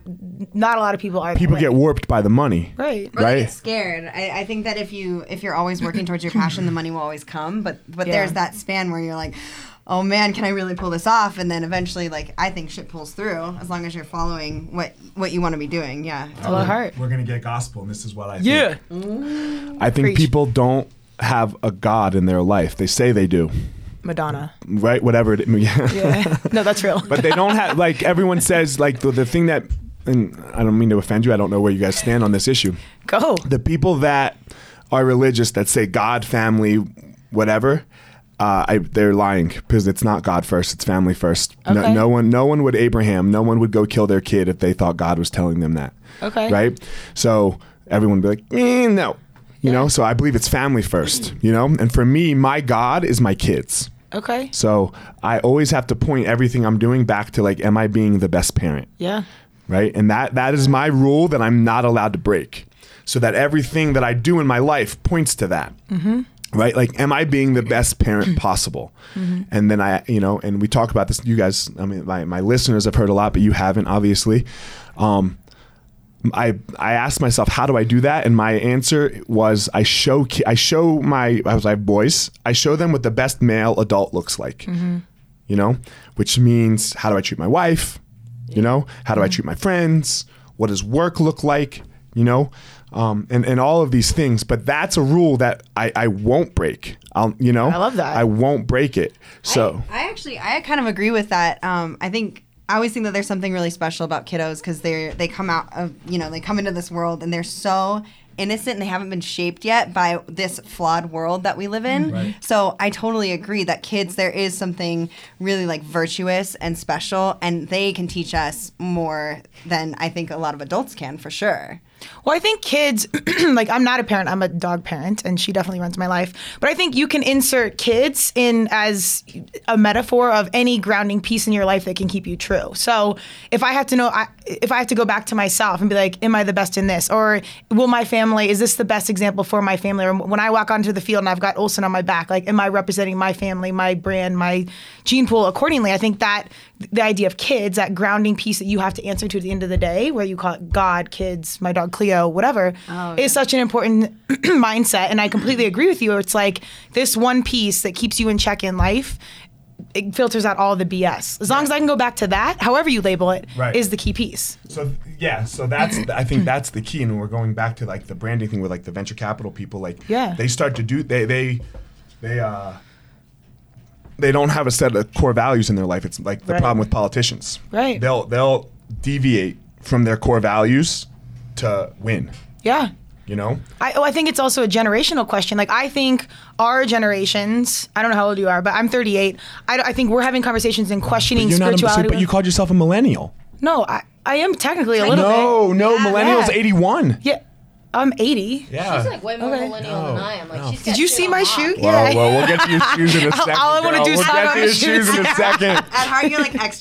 S2: not a lot of people are. that
S1: People
S2: way.
S1: get warped by the money.
S2: right.
S4: Or they
S1: Right.
S4: get scared. I, I think that if you if you're always working towards your passion, the money will always come. But but
S2: Yeah.
S4: there's that span where you're like, oh man, can I really pull this off? And then eventually, like I think shit pulls through as long as you're following what what you want to be doing. Yeah.
S2: Well, it hurt.
S1: We're gonna get gospel, and this is what I
S2: Yeah.
S1: I think
S2: Preach.
S1: people don't have a God in their life. They say they do,
S2: Madonna.
S1: right? Whatever it *laughs* is.
S2: Yeah. *laughs* no, that's real.
S1: but they don't have, like, everyone says, like, the, the thing that, and I don't mean to offend you, I don't know where you guys stand on this issue.
S2: go.
S1: The people that are religious that say God, family, whatever, uh, I, they're lying because it's not God first; it's family first. No,
S2: Okay.
S1: no one, no one would Abraham, no one would go kill their kid if they thought God was telling them that.
S2: Okay.
S1: Right. So everyone would be like, "Eh, no, you know. So I believe it's family first, you know. And for me, my God is my kids.
S2: Okay.
S1: So I always have to point everything I'm doing back to like, am I being the best parent?
S2: Yeah.
S1: right? And that that is my rule that I'm not allowed to break, so that everything that I do in my life points to that. Right? Like, am I being the best parent possible? And then I, you know, and we talk about this. You guys, I mean, my, my listeners have heard a lot, but you haven't, obviously. Um, I I asked myself, how do I do that? And my answer was, I show ki- I show my I was I have boys. I show them what the best male adult looks like.
S2: Mm-hmm.
S1: You know, which means how do I treat my wife? You know, how do
S2: Mm-hmm.
S1: I treat my friends? What does work look like? You know, um, and and all of these things. But that's a rule that I I won't break. I'll you know
S2: I love that.
S1: I won't break it. So
S4: I actually I kind of agree with that. Um, I think I always think that there's something really special about kiddos because they they come out of you know they come into this world and they're so innocent and they haven't been shaped yet by this flawed world that we live in. So I totally agree that kids there is something really like virtuous and special and they can teach us more than I think a lot of adults can for sure.
S2: Well, I think kids, *clears throat* like I'm not a parent, I'm a dog parent, and she definitely runs my life. But I think you can insert kids in as a metaphor of any grounding piece in your life that can keep you true. So if I have to know, I, if I have to go back to myself and be like, am I the best in this? Or will my family, is this the best example for my family? Or when I walk onto the field and I've got Olsen on my back, like, am I representing my family, my brand, my gene pool accordingly? I think that the idea of kids, that grounding piece that you have to answer to at the end of the day, where you call it God, kids, my dog Cleo, whatever, is such an important *clears throat* mindset. And I completely agree with you. where It's like this one piece that keeps you in check in life. It filters out all the BS. As long as I can go back to that, however you label it, is
S1: Right.
S2: the key piece.
S1: So yeah, so that's I think that's the key, and we're going back to like the branding thing with like the venture capital people. Like
S2: Yeah.
S1: they start to do they they they uh they don't have a set of core values in their life. It's like the
S2: Right.
S1: problem with politicians.
S2: Right.
S1: They'll they'll deviate from their core values to win.
S2: Yeah.
S1: You know.
S2: I, oh, I think it's also a generational question. Like, I think our generations, I don't know how old you are, but I'm 38. I, I think we're having conversations and questioning spirituality.
S1: but you called yourself a millennial.
S2: no, I, I am technically a little
S1: No,
S2: bit.
S1: no,
S2: Yeah.
S1: millennials eighty one.
S2: Yeah. I'm 80.
S6: Yeah.
S5: She's like way more
S2: Okay.
S5: millennial than I am. Like, she's
S2: Did you see my shoe?
S6: Whoa, whoa, we'll get to your shoes in a second.
S2: all *laughs* I wanna
S6: girl.
S2: do is
S6: we'll
S2: talk
S6: get
S2: about
S6: to
S2: my
S6: your shoes in a second.
S4: At heart, you're *laughs* like X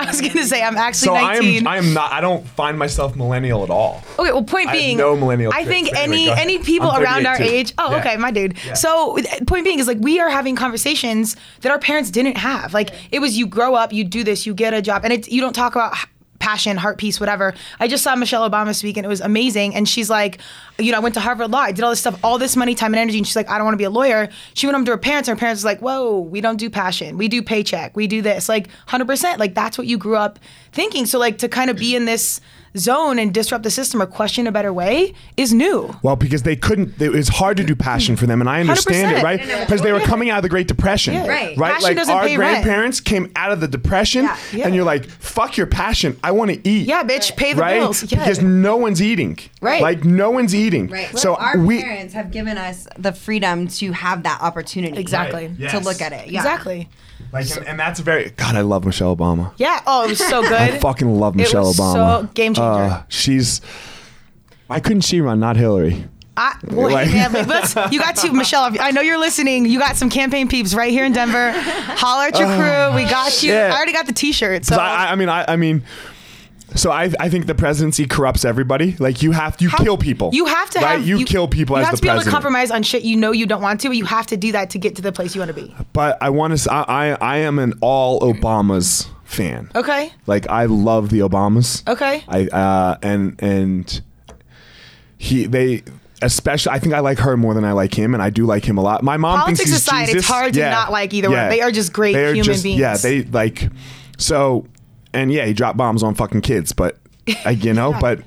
S2: *laughs* I was gonna say I'm actually
S1: So I
S2: 19.
S1: am. I am not. I don't find myself millennial at all.
S2: okay, well, point
S1: I have
S2: being,
S1: no millennial
S2: I think
S1: traits. Anyway,
S2: any
S1: go ahead.
S2: any people
S1: I'm
S2: around our
S1: 38 too.
S2: age. Oh,
S1: Yeah.
S2: okay, my dude. So point being is like we are having conversations that our parents didn't have. Like it was you grow up, you do this, you get a job, and it's you don't talk about h- passion, heart piece, whatever. I just saw Michelle Obama speak, and it was amazing. And she's like, you know, I went to Harvard Law, I did all this stuff, all this money, time, and energy, and she's like, I don't want to be a lawyer. She went home to her parents, and her parents was like, whoa, we don't do passion, we do paycheck, we do this, like 100. percent Like that's what you grew up thinking. So like to kind of be in this zone and disrupt the system or question a better way is new.
S1: Well, because they couldn't. It was hard to do passion for them, and I understand it,
S2: 100%.
S1: right? Because they were coming out of the Great Depression,
S4: Right.
S1: Right.
S2: Passion
S1: like
S2: doesn't
S1: our
S2: pay rent.
S1: grandparents came out of the depression,
S4: Yeah.
S1: and you're like, "Fuck your passion. I want to eat."
S2: Yeah, bitch, pay the
S1: right?
S2: bills. Yeah.
S1: Because no one's eating.
S2: Right.
S1: Like no one's eating.
S4: Right.
S1: So
S4: So our
S1: we.
S4: parents have given us the freedom to have that opportunity.
S2: Exactly.
S1: Right.
S4: To
S1: Yes.
S4: look at it. Yeah.
S2: Exactly.
S1: Like, and, and that's very. God, I love Michelle Obama.
S2: Yeah. Oh, it was
S1: *laughs*
S2: so good.
S1: I fucking love
S2: It
S1: Michelle
S2: was so
S1: Obama.
S2: game changer.
S1: Uh, she's. Why couldn't she run? Not Hillary.
S2: I, well,
S1: Like-
S2: hey, man, like, let's- you got to Michelle. I know you're listening. You got some campaign peeps right here in Denver. Holler at your crew. We got you.
S1: Oh, shit.
S2: I already got the T-shirt. So
S1: So I, I- I mean, I, I mean, so I, I think the presidency corrupts everybody. Like you have you
S2: How-
S1: kill people.
S2: You have to
S1: right?
S2: have
S1: you, kill people
S2: You
S1: as
S2: have
S1: the
S2: to be able to
S1: president.
S2: compromise on shit you know you don't want to, but you have to do that to get to the place you want to be.
S1: but I want to. I, I I am an all Obamas fan.
S2: Okay.
S1: Like I love the Obamas.
S2: Okay.
S1: I uh and and he they. Especially, I think I like her more than I like him, and I do like him a lot. My mom
S2: Politics
S1: thinks he's
S2: aside, it's
S1: Jesus.
S2: hard to not like either one. They are just great
S1: They are
S2: human
S1: just-
S2: beings.
S1: Yeah, they like so, and yeah, he dropped bombs on fucking kids, but I, you know,
S2: *laughs*
S1: but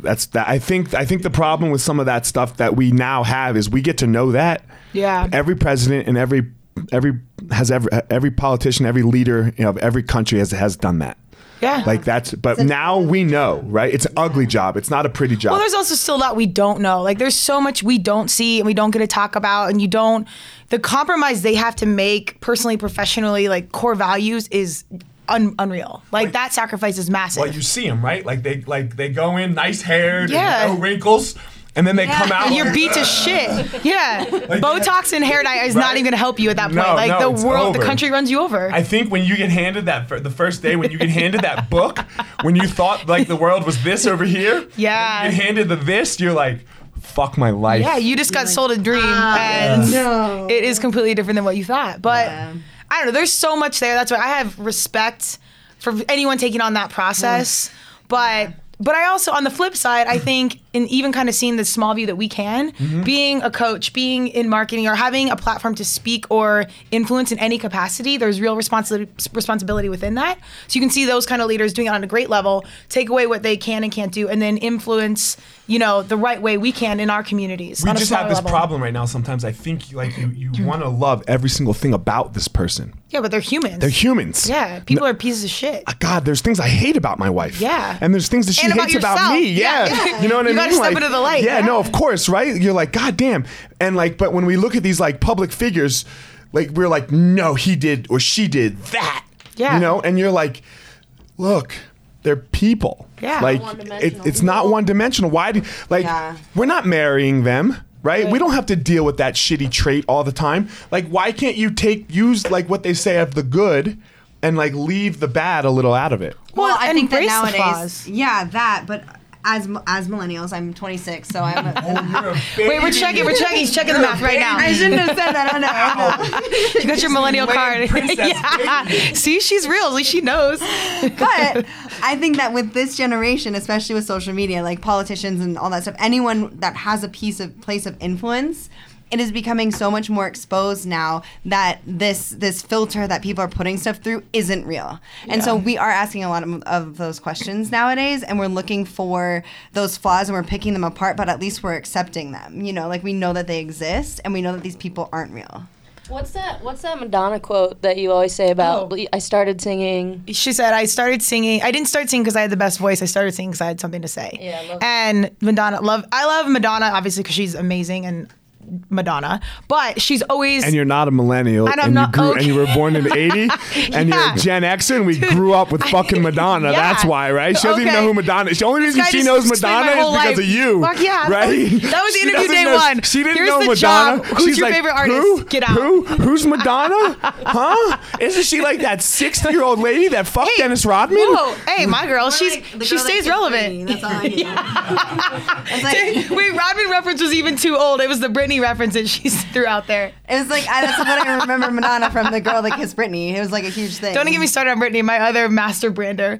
S1: that's that. I think I think the problem with some of that stuff that we now have is we get to know that.
S2: Yeah.
S1: Every president and every every has every every politician, every leader you know, of every country has has done that.
S2: Yeah.
S1: Like that's, but now we know, right? It's an ugly job. It's not a pretty job.
S2: Well, there's also still a lot we don't know. Like there's so much we don't see and we don't get to talk about, and you don't. The compromise they have to make personally, professionally, like core values is un- unreal. Like that sacrifice is massive.
S1: Well, you see them, right? Like they like they go in nice hair,
S2: Yeah.
S1: no wrinkles, and then they come out.
S2: you're beat to
S1: *laughs*
S2: shit. Yeah, Botox and hair dye is not
S1: Right?
S2: even gonna help you at that point.
S1: No,
S2: like
S1: no, it's
S2: the world, the
S1: over.
S2: country runs you over.
S1: I think when you get handed that fir- the first day when you get handed
S2: *laughs*
S1: that book, when you thought like the world was this over here,
S2: Yeah.
S1: and you get handed the this, you're like, fuck my life.
S2: yeah, you just got sold a dream, and
S4: No.
S2: it is completely different than what you thought. But
S4: Yeah.
S2: I don't know. There's so much there. That's why I have respect for anyone taking on that process.
S1: Mm.
S2: But but I also on the flip side, I think in even kind of seeing the small view that we can,
S1: Mm-hmm.
S2: being a coach, being in marketing, or having a platform to speak or influence in any capacity, there's real responsibility responsibility within that. So you can see those kind of leaders doing it on a great level, take away what they can and can't do, and then influence, you know, the right way we can in our communities.
S1: we
S2: on a
S1: just have
S2: smaller
S1: this
S2: level. Mm-hmm.
S1: problem right now. Sometimes I think like you you want to love every single thing about this person.
S2: Yeah, but they're humans.
S1: They're humans.
S2: Yeah, people are pieces of shit.
S1: God, there's things I hate about my wife.
S2: Yeah.
S1: And there's things that she
S2: And about
S1: hates about,
S2: yourself.
S1: me. Yeah.
S2: Yeah.
S1: You know what I mean?
S2: You gotta step into the light.
S1: Yeah, no, of course, right? You're like, God damn. And like, but when we look at these like public figures, like we're like, no, he did or she did that.
S2: Yeah.
S1: You know, and you're like, look, they're people.
S2: Yeah.
S1: Like it,
S5: One-dimensional.
S1: it's not one dimensional. Why do like
S4: Yeah.
S1: we're not marrying them. Right? We don't have to deal with that shitty trait all the time. Like, why can't you take use like what they say of the good, and like leave the bad a little out of it?
S4: Well, I think that
S2: embrace the
S4: nowadays,
S2: flaws.
S4: yeah, that. But as as millennials, I'm 26, so
S2: *laughs*
S4: I'm. A,
S2: Wait, we're checking. We're checking. He's
S4: *laughs*
S2: checking the math right now.
S4: I shouldn't have said that. I know. I know.
S2: *laughs* You got your millennial card. *laughs*
S1: princess
S2: yeah. See, she's real. At least she knows.
S4: *laughs* but I think that with this generation, especially with social media, like politicians and all that stuff, anyone that has a piece of place of influence, it is becoming so much more exposed now that this this filter that people are putting stuff through isn't real. And so we are asking a lot of, of those questions nowadays, and we're looking for those flaws and we're picking them apart. But at least we're accepting them. You know, like we know that they exist, and we know that these people aren't real.
S5: What's that? What's that Madonna quote that you always say about? I started singing.
S2: She said, I started singing. I didn't start singing because I had the best voice. I started singing because I had something to say.
S5: Yeah, I love that.
S2: and Madonna, love. I love Madonna, obviously, because she's amazing and Madonna, but she's always
S1: and you're not a millennial,
S2: And
S1: and,
S2: I'm
S1: you
S2: not-
S1: grew,
S2: okay.
S1: and you were born in
S2: *laughs*
S1: '80, and you're
S2: Yeah.
S1: a Gen Xer, and we grew up with
S2: *laughs*
S1: fucking Madonna.
S2: Yeah.
S1: That's why, right? She doesn't even
S2: Okay.
S1: know who Madonna. is. The only reason
S2: guy
S1: she
S2: just
S1: knows
S2: spent my
S1: Madonna is
S2: whole
S1: because
S2: life-
S1: of you,
S2: Fuck yeah.
S1: right? *laughs*
S2: That was
S1: She
S2: interview
S1: doesn't
S2: day
S1: know-
S2: one.
S1: She didn't
S2: Here's
S1: know
S2: the
S1: Madonna.
S2: job. Who's
S1: She's
S2: your
S1: like,
S2: favorite artist?
S1: Who?
S2: Get out."
S1: Who? Who's
S2: *laughs*
S1: Madonna? huh? Isn't she like that 60 year old lady that fucked
S2: Hey,
S1: Dennis Rodman?
S2: Whoa, hey, my girl, she's
S4: Like, the girl
S2: she
S4: that
S2: stays
S4: kissed
S2: relevant.
S4: Britney, That's all I need. it's like
S2: *laughs* Wait, Rodman reference was even too old. It was the Britney reference that she *laughs* threw out there.
S4: it was like I, that's what I remember Madonna from the girl that kissed Britney. It was like a huge thing.
S2: Don't get me started on Britney, my other master brander.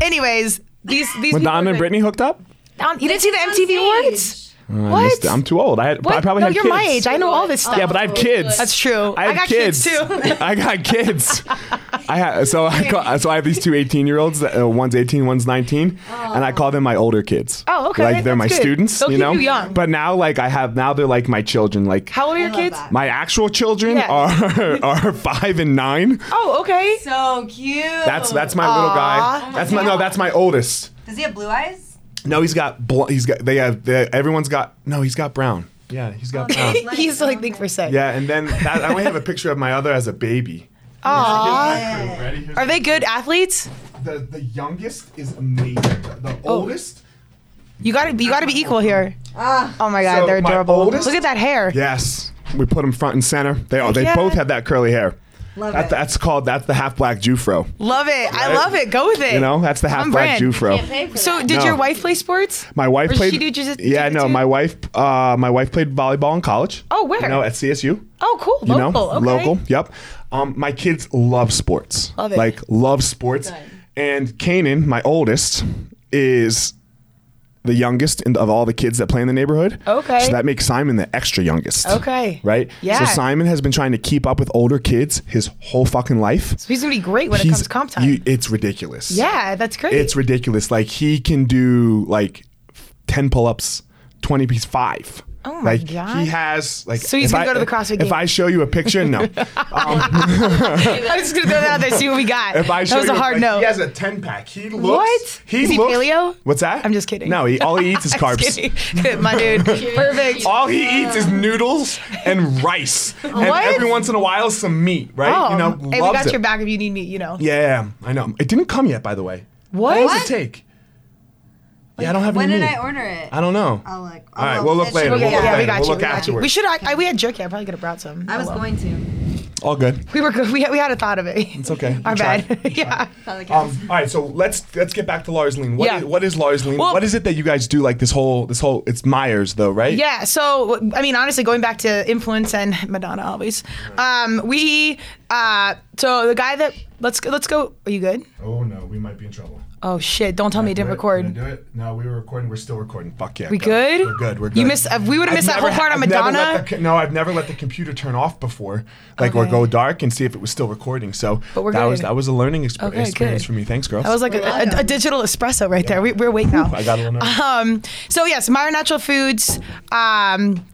S2: Anyways, these these people
S1: Madonna and
S2: have been-
S1: Britney hooked up?
S2: Um, you didn't see the MTV Awards?
S1: I
S2: What?
S1: missed it. I'm too old. I, had,
S2: What?
S1: I probably
S2: no,
S1: had
S2: you're
S1: kids.
S2: my age. I know all this stuff.
S1: Yeah, but I have kids.
S2: That's true.
S1: I, have
S2: got
S1: kids.
S2: kids, too.
S1: *laughs* I got kids.
S2: *laughs*
S1: I ha- so I call, so I have these two 18 year olds. Uh, one's 18, one's 19, and I call them my older kids.
S2: Oh, okay.
S1: Like they're
S2: That's
S1: my
S2: good.
S1: students.
S2: They'll
S1: you
S2: keep
S1: know.
S2: you young.
S1: But now, like I have now, they're like my children. Like
S2: How old are your
S4: love
S2: kids?
S4: that.
S1: my actual children
S2: Yeah.
S1: are *laughs* are five and nine.
S2: Oh, okay.
S4: so cute.
S1: That's that's my little guy. That's my no. That's my oldest.
S4: Does he have blue eyes?
S1: No, he's got bl- he's got they have they, everyone's got no. He's got brown. Yeah, he's got
S2: Oh,
S1: brown.
S2: *laughs* He's like think for sec.
S1: yeah, and then that, I only have a picture of my other as a baby. Aww. Ready? Here's
S2: Are they good athletes?
S1: the the youngest is amazing. The, the
S2: Oh.
S1: oldest.
S2: You gotta you gotta be equal here. oh my god,
S1: So
S2: they're
S1: my
S2: adorable.
S1: oldest-
S2: Look at that hair.
S1: Yes, we put them front and center. They all they
S2: Yeah.
S1: both have that curly hair.
S4: Love
S1: That,
S4: it.
S1: that's called that's the half black Jufro.
S2: Love it. I love it. Go with it.
S1: You know, that's the half
S2: On
S1: black
S2: brand.
S1: Jufro.
S2: So, did
S1: No.
S2: your wife play sports?
S1: My wife
S2: Or did
S1: played.
S2: she do jiu-
S1: yeah, no,
S2: jujitsu?
S1: my wife. Uh, my wife played volleyball in college.
S2: Oh, where?
S1: You know, at CSU.
S2: Oh, cool.
S1: You
S2: Local.
S1: know,
S2: okay.
S1: local. Yep. Um, my kids love sports.
S2: Love it.
S1: Like love sports. And Kanan, my oldest, is the youngest in, of all the kids that play in the neighborhood.
S2: Okay.
S1: So that makes Simon the extra youngest.
S2: Okay.
S1: Right.
S2: Yeah.
S1: So Simon has been trying to keep up with older kids his whole fucking life.
S2: So he's gonna be great when it comes comp time.
S1: you- it's ridiculous.
S2: yeah, that's great.
S1: It's ridiculous. Like he can do like ten pull-ups, twenty piece five.
S2: Oh my
S1: like,
S2: God.
S1: He has like.
S2: So he's
S1: if
S2: gonna
S1: I-
S2: go to the CrossFit
S1: If
S2: game.
S1: I show you a picture,
S2: *laughs*
S1: no.
S2: I was just gonna throw that out there, see what we got.
S1: If I
S2: that
S1: show
S2: was a
S1: you,
S2: hard
S1: like,
S2: no.
S1: He has a ten pack. He looks.
S2: What?
S1: He
S2: Is he
S1: looks-
S2: paleo?
S1: What's that?
S2: I'm just kidding.
S1: No, he all he
S2: *laughs*
S1: eats is
S2: Just
S1: carbs.
S2: kidding. *laughs* My dude, perfect.
S1: All he eats is noodles and rice, and
S2: What?
S1: every once in a while some meat. Right?
S2: Oh,
S1: you know,
S2: hey, we
S1: loves
S2: got
S1: it.
S2: your back if you need me. You know.
S1: Yeah, yeah, I know. It didn't come yet, by the way.
S2: What?
S1: What does it take? yeah, I don't have
S4: When
S1: any
S4: did
S1: meat.
S4: I order it?
S1: I don't know.
S4: I'll look.
S1: All right,
S4: I'll-
S1: we'll look
S4: it should
S1: later.
S4: be-
S1: We'll look
S2: Yeah, we
S1: later.
S2: got
S1: We'll
S2: you.
S1: look
S2: we, got you.
S1: afterwards.
S2: we should. I, I, we had jerky. I probably could have brought some.
S4: I was
S2: well.
S4: going to.
S1: All good.
S2: We were. good. We had, we had a thought of it.
S1: *laughs* It's okay.
S2: *laughs* Our
S1: We tried. *laughs*
S2: bad. *laughs* yeah.
S1: Um, all right, so let's let's get back to Lars Lean. What
S2: Yeah.
S1: is- what is Lars Lean?
S2: Well-
S1: what is it that you guys do? Like this whole this whole it's Myers though, right?
S2: Yeah. So, I mean, honestly, going back to influence and Madonna always, um, we, uh, so the guy that let's go- let's go. Are you good?
S1: Oh no, we might be in trouble.
S2: Oh shit! Don't tell me you didn't record.
S1: do it? No, we were recording. We're still recording. Fuck yeah.
S2: We
S1: go.
S2: good?
S1: We're good. We're good.
S2: You missed- uh, we would've
S1: I've
S2: missed that whole
S1: never-
S2: part on
S1: I've never let
S2: Madonna.
S1: the co- no, I've never let the computer turn off before, like or
S2: Okay.
S1: go dark and see if it was still recording. So
S2: But we're
S1: that was
S2: good.
S1: that was a learning exp-
S2: Okay,
S1: experience
S2: good.
S1: for me. Thanks, girls.
S2: That was like a, a, a digital espresso right there. We, we're awake now.
S1: *laughs* I
S2: *laughs*
S1: got a little nervous.
S2: Um, so yes, Meyer Natural Foods, um,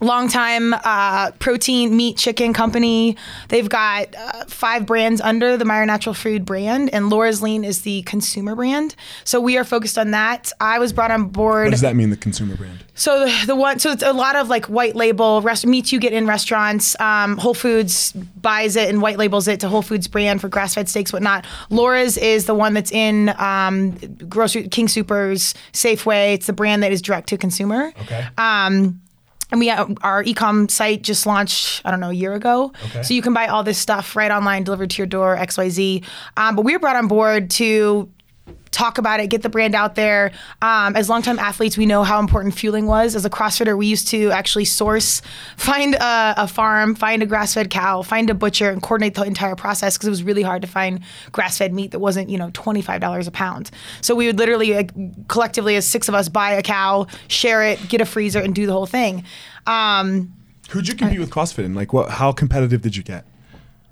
S2: long time uh, protein meat chicken company. They've got uh, five brands under the Meyer Natural Food brand, and Laura's Lean is the consumer brand. So we are focused on that. I was brought on board.
S1: what does that mean? The consumer
S2: *laughs*
S1: brand.
S2: So the, the one, so it's a lot of like white label rest, meats you get in restaurants. Um, Whole Foods buys it and white labels it to Whole Foods brand for grass fed steaks, whatnot. Laura's is the one that's in um, grocery King Supers, Safeway. It's the brand that is direct to consumer.
S1: Okay.
S2: Um, and we our ecom site just launched, I don't know, a year ago.
S1: Okay.
S2: So you can buy all this stuff right online, delivered to your door, XYZ. Um, but we were brought on board to talk about it, get the brand out there. Um, as longtime athletes, we know how important fueling was. As a CrossFitter, we used to actually source, find a, a farm, find a grass fed cow, find a butcher, and coordinate the entire process because it was really hard to find grass fed meat that wasn't, you know, $25 a pound. So we would literally, like, collectively, as six of us, buy a cow, share it, get a freezer, and do the whole thing. Um,
S1: Who'd you compete with CrossFit in? Like, what? How competitive did you get?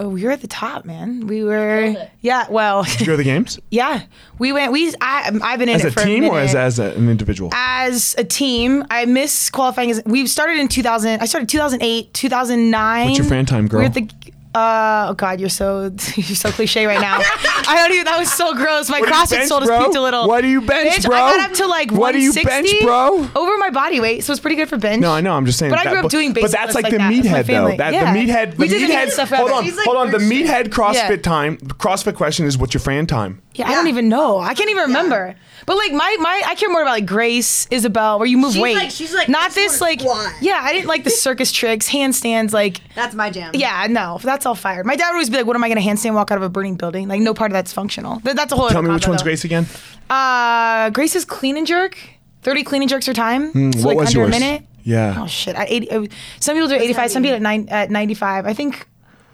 S2: oh, we were at the top, man. We were, yeah, well, *laughs*
S1: Did you go to the games
S2: yeah. We went, we, I, I've been in
S1: as
S2: it
S1: a
S2: for
S1: team
S2: a
S1: or as
S2: minute.
S1: as a, an individual?
S2: as a team. I miss qualifying as we started in 2000. I started 2008, 2009.
S1: What's your fan time, girl?
S2: We're at the Uh, oh God, you're so *laughs* you're so cliche right now. I don't even. That was so gross. My
S1: What do you
S2: CrossFit
S1: bench,
S2: sold
S1: bro?
S2: us pizza little.
S1: What do you bench,
S2: Bitch,
S1: bro?
S2: I got up to like
S1: What do you
S2: 160
S1: bench, bro?
S2: over my body weight, so it's pretty good for bench.
S1: No, I know. I'm just saying.
S2: But I grew up doing
S1: But
S2: basic
S1: that's
S2: lifts
S1: like
S2: like
S1: the
S2: that with my
S1: meathead though.
S2: family.
S1: That
S2: Yeah.
S1: the meathead.
S2: We
S1: the
S2: did the meathead stuff
S1: Hold
S2: ever.
S1: on,
S2: He's
S4: like
S1: hold on. The
S4: weird shit.
S1: meathead CrossFit
S2: Yeah.
S1: time. CrossFit question is, what's your fan time?
S2: Yeah, I don't even know. I can't even remember. But like my my, I care more about like Grace, Isabel, where you move
S4: She's
S2: weight.
S4: like- she's like, I
S2: not
S4: just
S2: this
S4: wanna
S2: like.
S4: squat.
S2: Yeah, I didn't like the circus tricks, handstands, like.
S4: That's my jam.
S2: Yeah, no, that's all fired. My dad would always be like, "What am I going to handstand walk out of a burning building?" Like, no part of that's functional. Th- that's a whole.
S1: Tell
S2: other
S1: me which
S2: combo,
S1: one's
S2: though.
S1: Grace again.
S2: Uh, Grace's clean and jerk. Thirty clean and jerks per time. so
S1: Hmm, what
S2: like
S1: was
S2: under
S1: yours?
S2: a minute.
S1: Yeah.
S2: Oh shit! I, 80, uh, some people do eighty-five. Some people at, nine, at ninety-five. I think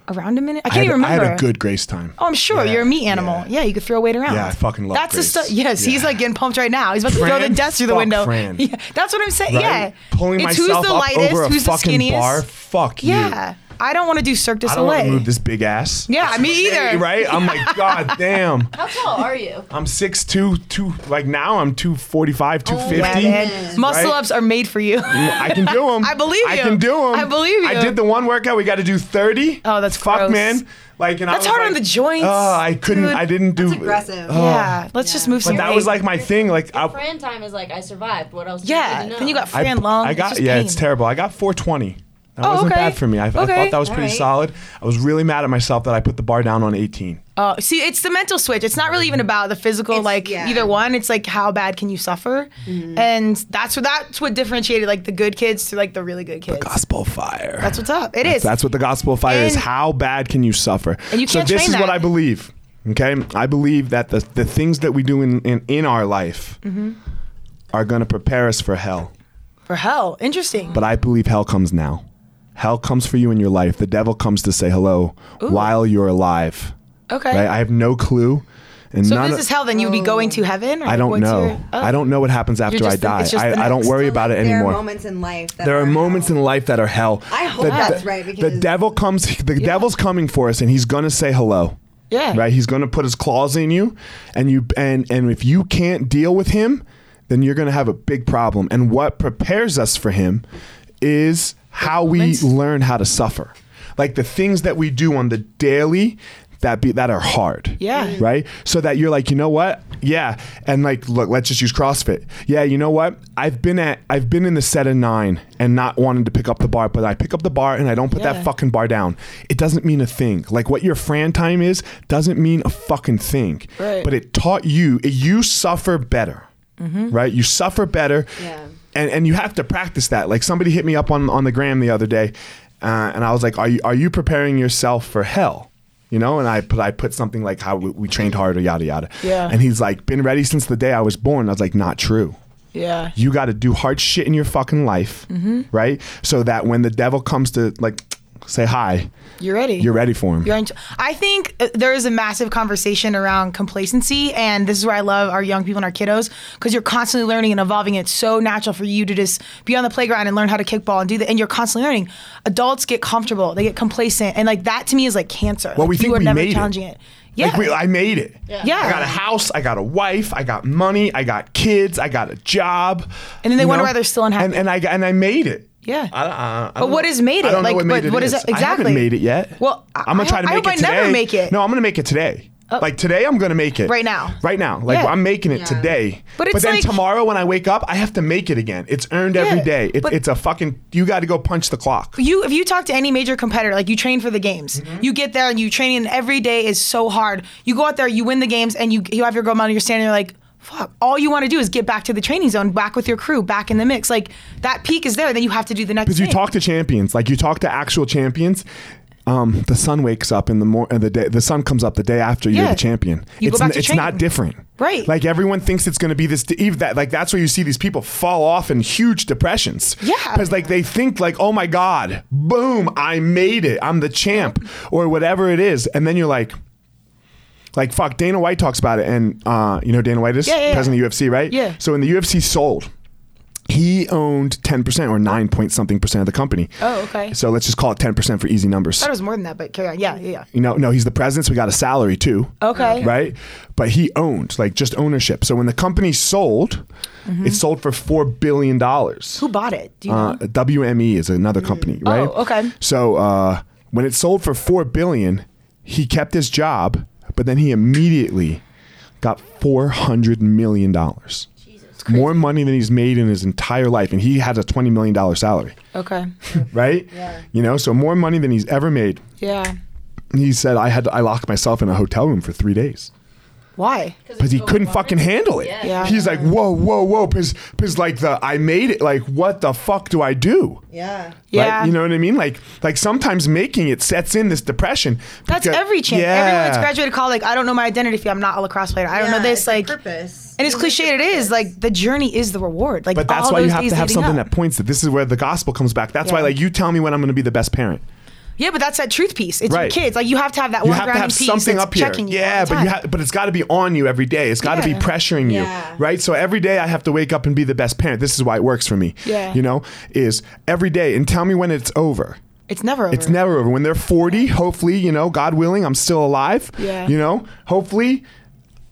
S2: around a minute. I
S1: I
S2: can't
S1: had,
S2: even
S1: I had
S2: remember.
S1: a good Grace time.
S2: Oh, I'm sure
S1: Yeah,
S2: you're a meat animal.
S1: yeah.
S2: Yeah, you could throw weight around.
S1: Yeah, I fucking love
S2: That's the
S1: Grace.
S2: stuff. Yes, he's
S1: Yeah.
S2: like getting pumped right now. He's about to throw
S1: Fran?
S2: the desk through the
S1: Fuck
S2: window.
S1: Fran.
S2: *laughs* Yeah, that's what I'm saying.
S1: Right?
S2: Yeah,
S1: Pulling
S2: it's
S1: myself
S2: who's the
S1: up
S2: lightest,
S1: over a
S2: who's the
S1: fucking
S2: skinniest.
S1: bar. Fuck you.
S2: Yeah, I don't want to do Cirque du
S1: I don't want to
S2: Soleil.
S1: move this big ass.
S2: yeah, me either.
S1: Right? I'm
S2: *laughs*
S1: like, god damn.
S5: How tall are you?
S1: I'm 6'2", two, like now I'm 245, 250.
S2: Oh, Yeah, man. Muscle
S1: right?
S2: ups are made for you.
S1: I can do them.
S2: I believe
S1: I
S2: you.
S1: can do them.
S2: I believe you.
S1: I did the one workout. We got to do thirty.
S2: Oh, that's
S1: fuck,
S2: gross.
S1: man. Like, and I
S2: *laughs* That's
S1: was
S2: hard on
S1: like,
S2: the joints,
S1: Oh, I couldn't.
S2: dude.
S1: I didn't do.
S4: It's
S1: Oh,
S4: aggressive.
S2: yeah, let's just move some
S1: But that
S2: weight.
S1: was like my thing. Like, I,
S5: Fran time is like I survived. What else? do
S2: yeah.
S5: you need to
S2: Then you
S5: know?
S2: got
S1: I,
S2: Fran Long.
S1: I got.
S2: just
S1: yeah,
S2: pain.
S1: it's terrible. I got four twenty. That
S2: Oh,
S1: wasn't
S2: okay.
S1: bad for me. I, I thought
S2: Okay.
S1: that was pretty
S4: Alright.
S1: solid. I was really mad at myself that I put the bar down on eighteen.
S2: Oh, see, it's the mental switch. It's not really even about the physical,
S4: It's-
S2: like
S4: yeah.
S2: either one. It's like how bad can you suffer, and that's what that's what differentiated like the good kids to like the really good kids.
S1: Gospel fire.
S2: That's what's up. It is.
S1: That's what the gospel of fire is.
S2: And-
S1: How bad can you suffer?
S2: And you can't
S1: so this
S2: train
S1: is what
S2: that.
S1: I believe. Okay, I believe that the the things that we do in in, in our life
S2: Mm-hmm.
S1: are going to prepare us for hell.
S2: for hell. Interesting.
S1: But I believe hell comes now. Hell comes for you in your life. The devil comes to say hello while you're alive.
S2: okay.
S1: Right? I have no clue, and
S2: so if
S1: none. of-
S2: this is hell. Then you'd be going to heaven. Or
S1: I don't
S2: what's
S1: know.
S2: your- oh.
S1: I don't know what happens after
S2: just
S1: I
S2: the-
S1: die.
S2: it's just the
S1: I, I don't
S2: next-
S1: worry
S4: Still,
S1: about
S4: like,
S1: it
S4: There
S1: anymore.
S4: are moments in life. That
S1: There are moments in life that are hell.
S4: I hope
S1: The-
S4: that's
S1: the-
S4: right, because-
S1: the devil comes. The devil's coming for us, and he's gonna say hello.
S2: Yeah.
S1: Right. He's gonna put his claws in you, and you and and if you can't deal with him, then you're gonna have a big problem. And what prepares us for him is how we learn how to suffer, like the things that we do on the daily that be that are hard.
S2: Yeah.
S4: Mm-hmm.
S1: Right. So that you're like, you know what? Yeah. And like, look, let's just use CrossFit. Yeah. You know what? I've been at, I've been in the set of nine and not wanting to pick up the bar, but I pick up the bar and I don't put that
S2: Yeah.
S1: fucking bar down. It doesn't mean a thing. Like what your Fran time is doesn't mean a fucking thing.
S2: Right.
S1: But it taught you, you suffer better. Right. You suffer better.
S5: Yeah.
S1: And, and you have to practice that. Like somebody hit me up on, on the gram the other day, uh, and I was like, "Are you are you preparing yourself for hell?" You know, and I put I put something like how we, we trained hard or yada yada.
S2: Yeah.
S1: And he's like, "Been ready since the day I was born." I was like, "Not true."
S2: Yeah.
S1: You got to do hard shit in your fucking life, right? So that when the devil comes to like say hi,
S2: You're ready.
S1: you're ready for him.
S2: You're in- I think uh, there is a massive conversation around complacency, and this is where I love our young people and our kiddos because you're constantly learning and evolving. It's so natural for you to just be on the playground and learn how to kickball and do that, and you're constantly learning. Adults get comfortable, they get complacent, and like that to me is like cancer.
S1: Well,
S2: like,
S1: we
S2: you
S1: think
S2: are
S1: we
S2: never
S1: made it.
S2: challenging it. Yeah,
S1: Like we, I made it.
S2: Yeah.
S1: I got a house. I got a wife. I got money. I got kids. I got a job.
S2: And then they
S1: you
S2: wonder why they're still unhappy.
S1: And, and I got- and I made it.
S2: Yeah.
S1: I, I, I
S2: But
S1: don't
S2: what
S1: know-
S2: is made
S1: I
S2: it?
S1: don't know
S2: Like,
S1: what made
S2: but what
S1: it
S2: is that-
S1: I haven't
S2: exactly.
S1: made it yet.
S2: Well, I-
S1: I'm gonna
S2: I
S1: try to
S2: hope- I
S1: make
S2: hope
S1: it
S2: I
S1: today.
S2: never make it. Oh.
S1: No, I'm gonna make it today. Like today, I'm gonna make it.
S2: Right now.
S1: Right now. Like
S2: Yeah.
S1: I'm making it
S4: Yeah.
S1: today.
S2: But it's
S1: then
S2: like-
S1: tomorrow when I wake up, I have to make it again. It's earned every
S2: Yeah,
S1: day. It,
S2: but-
S1: it's a fucking. You got to go punch the clock.
S2: you if you talk to any major competitor, like you train for the games,
S1: Mm-hmm.
S2: you get there and you train, and every day is so hard. You go out there, you win the games, and you you have your gold medal. You're standing there like. Fuck. All you want to do is get back to the training zone, back with your crew, back in the mix. Like that peak is there, then you have to do the next.
S1: because you
S2: thing.
S1: talk to champions like you talk to actual champions um, the sun wakes up in the mor- uh, the day the sun comes up the day after you're
S2: Yeah.
S1: the champion
S2: You go
S1: it's
S2: back
S1: n-
S2: to
S1: it's
S2: training.
S1: not different
S2: Right.
S1: like everyone thinks it's going to be this d- eve that like that's where you see these people fall off in huge depressions
S2: Yeah.
S1: because like they think like oh my god boom i made it i'm the champ or whatever it is and then you're like like fuck dana white talks about it and uh, you know who dana white is
S2: Yeah, yeah, yeah.
S1: president of ufc right
S2: Yeah.
S1: so when the ufc sold he owned 10% or 9 point something percent of the company.
S2: Oh, okay.
S1: So let's just call it 10% for easy numbers.
S2: I thought it was more than that, but carry on. Yeah, yeah,
S1: You know, no, he's the president, so we got a salary too.
S2: Okay.
S1: Right? But he owned, like just ownership. So when the company sold,
S2: Mm-hmm.
S1: it sold for $4 billion.
S2: Who bought it? Do you know?
S1: E Uh, WME is another company, right?
S2: Oh, okay.
S1: So uh, When it sold for four billion, he kept his job, but then he immediately got four hundred million dollars. More money than he's made in his entire life, and he had a twenty million dollar salary, *laughs*
S2: Okay.
S1: right? You know, so more money than he's ever made.
S2: Yeah.
S1: He said, "I had to, I locked myself in a hotel room for three days."
S2: Why?
S1: because he couldn't fucking handle it.
S2: Yeah.
S1: He's like, whoa, whoa, whoa, because like the I made it. Like, what the fuck do I do?
S4: Yeah.
S2: Yeah.
S1: Right? You know what I mean? Like, like sometimes making it sets in this depression.
S2: That's
S1: because-
S2: every chance.
S1: Yeah.
S2: Everyone that's graduated college, like, I don't know my identity if I'm not a lacrosse player. I don't know this. Like,
S4: purpose.
S2: and as cliche it is, like the journey is the reward. Like,
S1: But that's
S2: all
S1: why you
S2: those
S1: have
S2: days
S1: to have
S2: leading
S1: something
S2: up.
S1: that points that this is where the gospel comes back. That's why,
S2: Yeah.
S1: like, you tell me when I'm going to be the best parent.
S2: Yeah, but that's that truth piece. It's your
S1: Right.
S2: kids. Like you have to have that
S1: You
S2: one
S1: have to
S2: grounding
S1: have
S2: piece
S1: something
S2: that's
S1: up here.
S2: checking you. all
S1: yeah,
S2: the
S1: but you
S2: time.
S1: ha- but it's got to be on you every day. It's got to
S2: Yeah.
S1: be pressuring you,
S4: Yeah.
S1: right? So every day I have to wake up and be the best parent. This is why it works for me.
S2: Yeah.
S1: you know, is every day and tell me when it's over.
S2: it's never over.
S1: It's never over. When they're 40, hopefully, you know, God willing, I'm still alive.
S2: Yeah.
S1: You know, hopefully,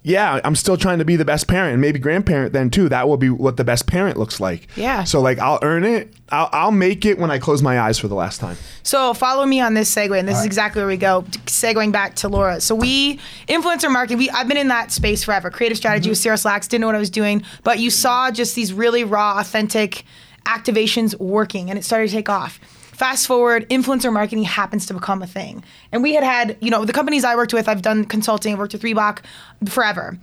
S1: yeah, I'm still trying to be the best parent and maybe grandparent then too. That will be what the best parent looks like.
S2: Yeah.
S1: So, like, I'll earn it. I'll, I'll make it when I close my eyes for the last time.
S2: So follow me on this segue, and this is exactly where we go. Segueing back to Laura. So we influencer marketing. We I've been in that space forever. Creative strategy
S1: Mm-hmm.
S2: with Sarah Slacks. Didn't know what I was doing, but you saw just these really raw, authentic activations working, and it started to take off. Fast forward, influencer marketing happens to become a thing, and we had had you know the companies I worked with. I've done consulting. I've worked with Reebok forever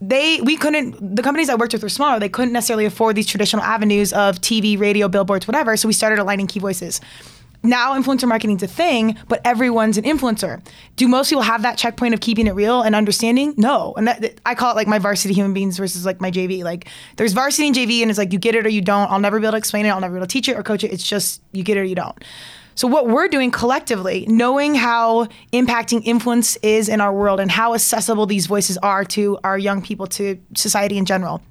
S2: they we couldn't the companies I worked with were smaller. They couldn't necessarily afford these traditional avenues of TV, radio, billboards, whatever. So we started aligning key voices. Now influencer marketing's a thing, but everyone's an influencer. Do most people have that checkpoint of keeping it real and understanding? No, and that, I call it like my varsity human beings versus like my JV. Like there's varsity and JV, and it's like you get it or you don't. I'll never be able to explain it. I'll never be able to teach it or coach it. It's just you get it or you don't. So what we're doing collectively, knowing how impacting influence is in our world and how accessible these voices are to our young people, to society in general.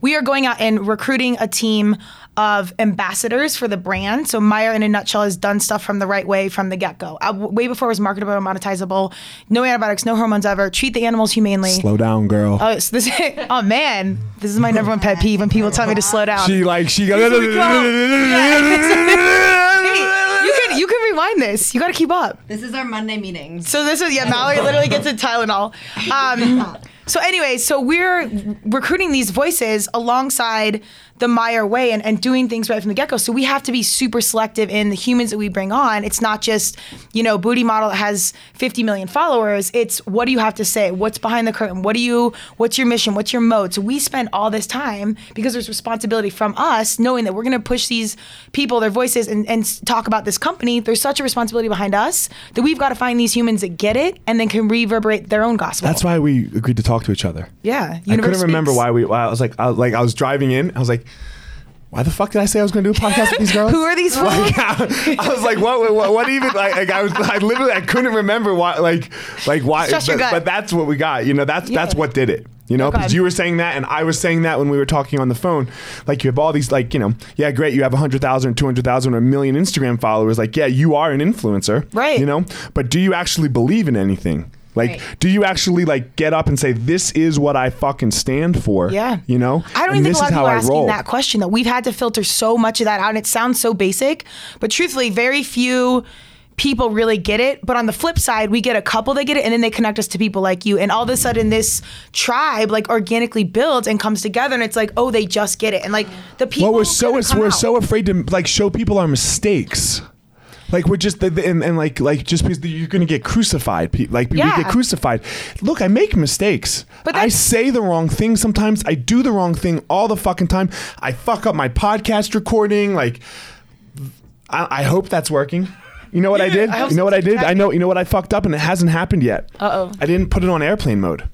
S2: We are going out and recruiting a team of ambassadors for the brand. So Meyer, in a nutshell, has done stuff from the right way from the get go. Uh, way before it was marketable and monetizable. No antibiotics, no hormones ever. Treat the animals humanely.
S1: Slow down, girl.
S2: Oh, so this, *laughs* oh man, this is my number one pet peeve when people tell me to slow down.
S1: she, like, she goes, *laughs*
S2: *laughs* Hey, you can you can rewind this. You got to keep up.
S4: This is our Monday meetings.
S2: So this is yeah, Mallory literally gets a Tylenol. Um, so anyway, so we're recruiting these voices alongside the Meyer way and, and doing things right from the get-go. So we have to be super selective in the humans that we bring on. It's not just, you know, booty model that has 50 million followers. It's what do you have to say? What's behind the curtain? What do you what's your mission? What's your mode? So we spend all this time because there's responsibility from us knowing that we're gonna push these people, their voices, and, and s- talk about this company. There's such a responsibility behind us that we've got to find these humans that get it and then can reverberate their own gospel.
S1: That's why we agreed to talk to each other.
S2: Yeah,
S1: I
S2: universe
S1: couldn't remember
S2: speaks.
S1: why we. Why I was like, I, like I was driving in. I was like, why the fuck did I say I was going to do a podcast with
S2: *laughs*
S1: these girls?
S2: Who are
S1: *laughs*
S2: these
S1: Like,
S2: Uh-huh.
S1: I, was like, what, what, what even? Like, like, I was, I literally, I couldn't remember why. Like, like why?
S2: Trust your
S1: but,
S2: gut.
S1: but that's what we got. You know, that's that's
S2: Yeah. Oh,
S1: what did it. You know,
S2: God.
S1: because you were saying that, and I was saying that when we were talking on the phone. Like, you have all these, like, you know, yeah, great, you have 100,000, 200,000, or a million Instagram followers. Like, yeah, you are an influencer.
S2: Right.
S1: You know, but do you actually believe in anything? Like,
S4: Right.
S1: do you actually like get up and say this is what I fucking stand for?
S2: Yeah.
S1: you know.
S2: I
S1: And
S2: don't even think
S1: this
S2: a lot
S1: is
S2: of
S1: how
S2: people are
S1: I
S2: asking
S1: roll.
S2: that question though. We've had to filter so much of that out and it sounds so basic, but truthfully, very few people really get it. But on the flip side, we get a couple that get it and then they connect us to people like you. And all of a sudden this tribe like organically builds and comes together and it's like, oh, they just get it. And like the people
S1: Well, we're so
S2: could've come
S1: we're
S2: out.
S1: so afraid to like show people our mistakes. Like we're just the, the- and, and like like just because you're gonna get crucified, pe- like
S2: Yeah.
S1: we get crucified. Look, I make mistakes.
S2: But
S1: But I
S2: that's-
S1: say the wrong thing sometimes. I do the wrong thing all the fucking time. I fuck up my podcast recording. Like, I, I hope that's working. You know what I did?
S2: I hope
S1: you know what I did?
S2: something's
S1: I know. You know what I fucked up, and it hasn't happened yet.
S2: Uh-oh.
S1: I didn't put it on airplane mode.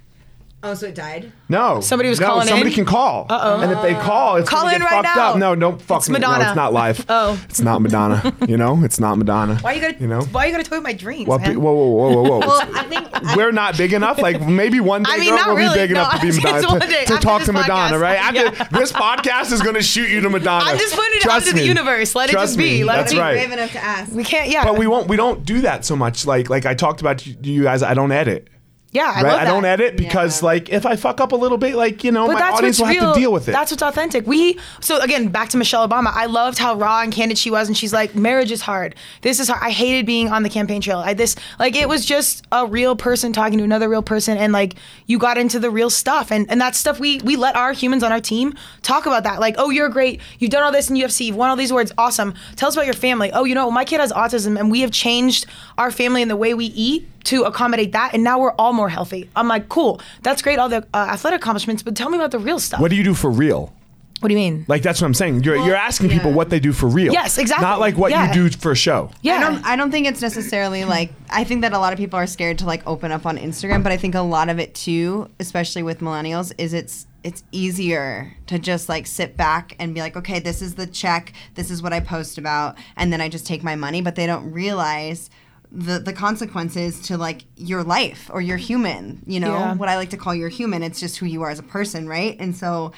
S4: Oh, so it died?
S1: No.
S2: Somebody was
S1: no,
S2: calling
S1: Somebody
S2: in?
S1: can call. Uh-oh. And if they call, it's
S2: Call
S1: gonna
S2: in
S1: get
S2: right
S1: fucked
S2: now.
S1: up. No, don't fuck
S2: It's
S1: me.
S2: Madonna.
S1: No, it's not live.
S2: Oh.
S1: It's not Madonna. you know, it's not Madonna.
S2: why you gotta
S1: You know.
S2: why you gotta toy with my dreams?
S1: Well, pe-
S2: man?
S1: whoa, whoa, whoa, whoa, whoa!
S4: Well, I think
S1: We're not big enough. Like maybe one day
S2: I mean,
S1: girl,
S2: not
S1: we'll
S2: really.
S1: be big
S2: No,
S1: enough to be
S2: *laughs* just
S1: Madonna
S2: one
S1: to,
S2: day,
S1: to
S2: after
S1: talk
S2: this
S1: to Madonna,
S2: podcast.
S1: right? After
S2: Yeah.
S1: this podcast is going to shoot you to Madonna.
S2: I'm just putting it
S1: Trust
S2: out to the
S1: me.
S2: universe. Let it
S1: Trust
S2: just be.
S1: me.
S2: Let it
S1: That's
S2: be.
S1: right.
S4: brave enough to ask.
S2: we can't yeah.
S1: But we won't. We don't do that so much. Like like I talked about to you guys. I don't edit.
S2: Yeah, I
S1: right?
S2: love
S1: I don't
S2: that.
S1: edit because, like, if I fuck up a little bit, like, you know,
S2: But
S1: my
S2: that's
S1: audience
S2: what's
S1: will
S2: real.
S1: have to deal with it.
S2: That's what's authentic. We so again back to Michelle Obama. I loved how raw and candid she was, and she's like, "Marriage is hard. This is hard. I hated being on the campaign trail. I this like it was just a real person talking to another real person, and like you got into the real stuff, and and that's stuff we we let our humans on our team talk about that. Like, oh, you're great. You've done all this in UFC. You've won all these awards. Awesome. Tell us about your family. Oh, you know, my kid has autism, and we have changed our family and the way we eat to accommodate that, and now we're all more healthy. I'm like, cool. That's great. All the uh, athletic accomplishments, but tell me about the real stuff.
S1: what do you do for real?
S2: What do you mean?
S1: Like, that's what I'm saying. You're, you're asking people what they do for real.
S2: Yes, exactly.
S1: Not like what
S2: Yeah.
S1: you do for a show.
S2: yeah.
S4: I don't I don't think it's necessarily like I think that a lot of people are scared to like open up on Instagram, but I think a lot of it too, especially with millennials, is it's it's easier to just like sit back and be like, okay, this is the check, this is what I post about, and then I just take my money, but they don't realize the, the consequences to like your life or your human, you know,
S2: Yeah.
S4: what I like to call your human. It's just who you are as a person, right? And so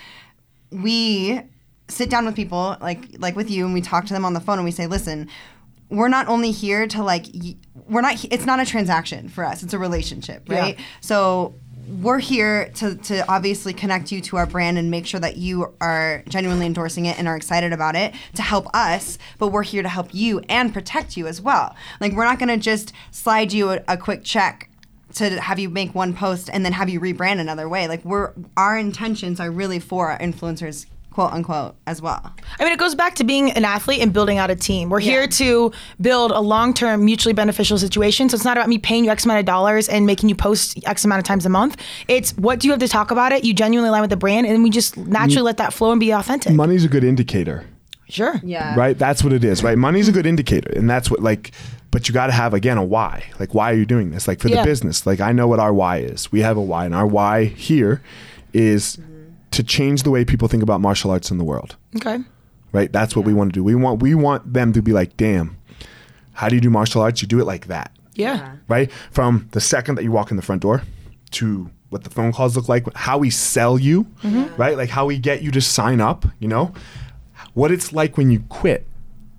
S4: we sit down with people like like with you and we talk to them on the phone and we say listen we're not only here to like y- we're not it's not a transaction for us it's a relationship right so we're here to, to obviously connect you to our brand and make sure that you are genuinely endorsing it and are excited about it to help us but we're here to help you and protect you as well like we're not going to just slide you a, a quick check to have you make one post and then have you rebrand another way. Like we're our intentions are really for our influencers, quote unquote, as well.
S2: I mean, it goes back to being an athlete and building out a team. We're here to build a long term, mutually beneficial situation. So it's not about me paying you X amount of dollars and making you post X amount of times a month. It's what do you have to talk about it? You genuinely align with the brand, and we just naturally let that flow and be authentic.
S1: Money's a good indicator.
S2: Sure.
S4: Yeah.
S1: right that's what it is right money's a good indicator and that's what like but you got to have again a why like why are you doing this like for
S2: Yeah.
S1: the business like i know what our why is we have a why and our why here is
S2: Mm-hmm.
S1: to change the way people think about martial arts in the world
S2: Okay.
S1: right that's what we want to do we want we want them to be like damn how do you do martial arts you do it like that
S2: Yeah.
S1: right? From the second that you walk in the front door to what the phone calls look like, how we sell you,
S2: Mm-hmm.
S1: right? Like how we get you to sign up, you know? What it's like when you quit,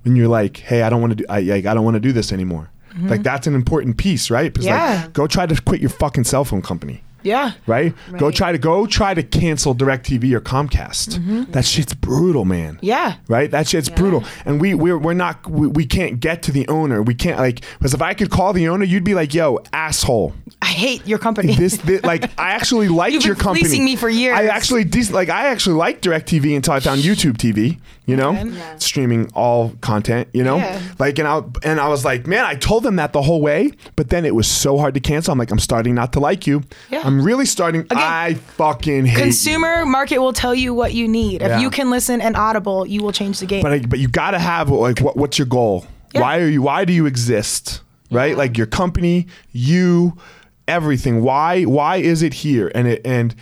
S1: when you're like, hey, I don't want to do, I, like, I don't want to do this anymore. Like that's an important piece, right? Because
S2: Mm-hmm. Yeah.
S1: like, go try to quit your fucking cell phone company.
S2: Yeah.
S1: Right? Go try to go try to cancel DirecTV or Comcast.
S2: Mm-hmm.
S1: That shit's brutal, man
S2: Yeah.
S1: right? That shit's brutal. And we we're, we're not we, we can't get to the owner. We can't like because if I could call the owner, you'd be like, "Yo, asshole,
S2: I hate your company.
S1: this, this like I actually liked
S2: You've been
S1: your company.
S2: fleecing me for years.
S1: I actually dis- like I actually liked DirecTV until I found YouTube TV. You know, streaming all content. You know,
S2: Yeah.
S1: like and I and I was like, man, I told them that the whole way, but then it was so hard to cancel. I'm like, I'm starting not to like you.
S2: Yeah.
S1: I'm really starting. I fucking hate you.
S2: *laughs* Consumer market will tell you what you need. If
S1: Yeah.
S2: you can listen and audible, you will change the game.
S1: but I, but you gotta have like what what's your goal?
S2: Yeah.
S1: Why are you? Why do you exist? Right? Like your company, you, everything. Why why is it here? And it and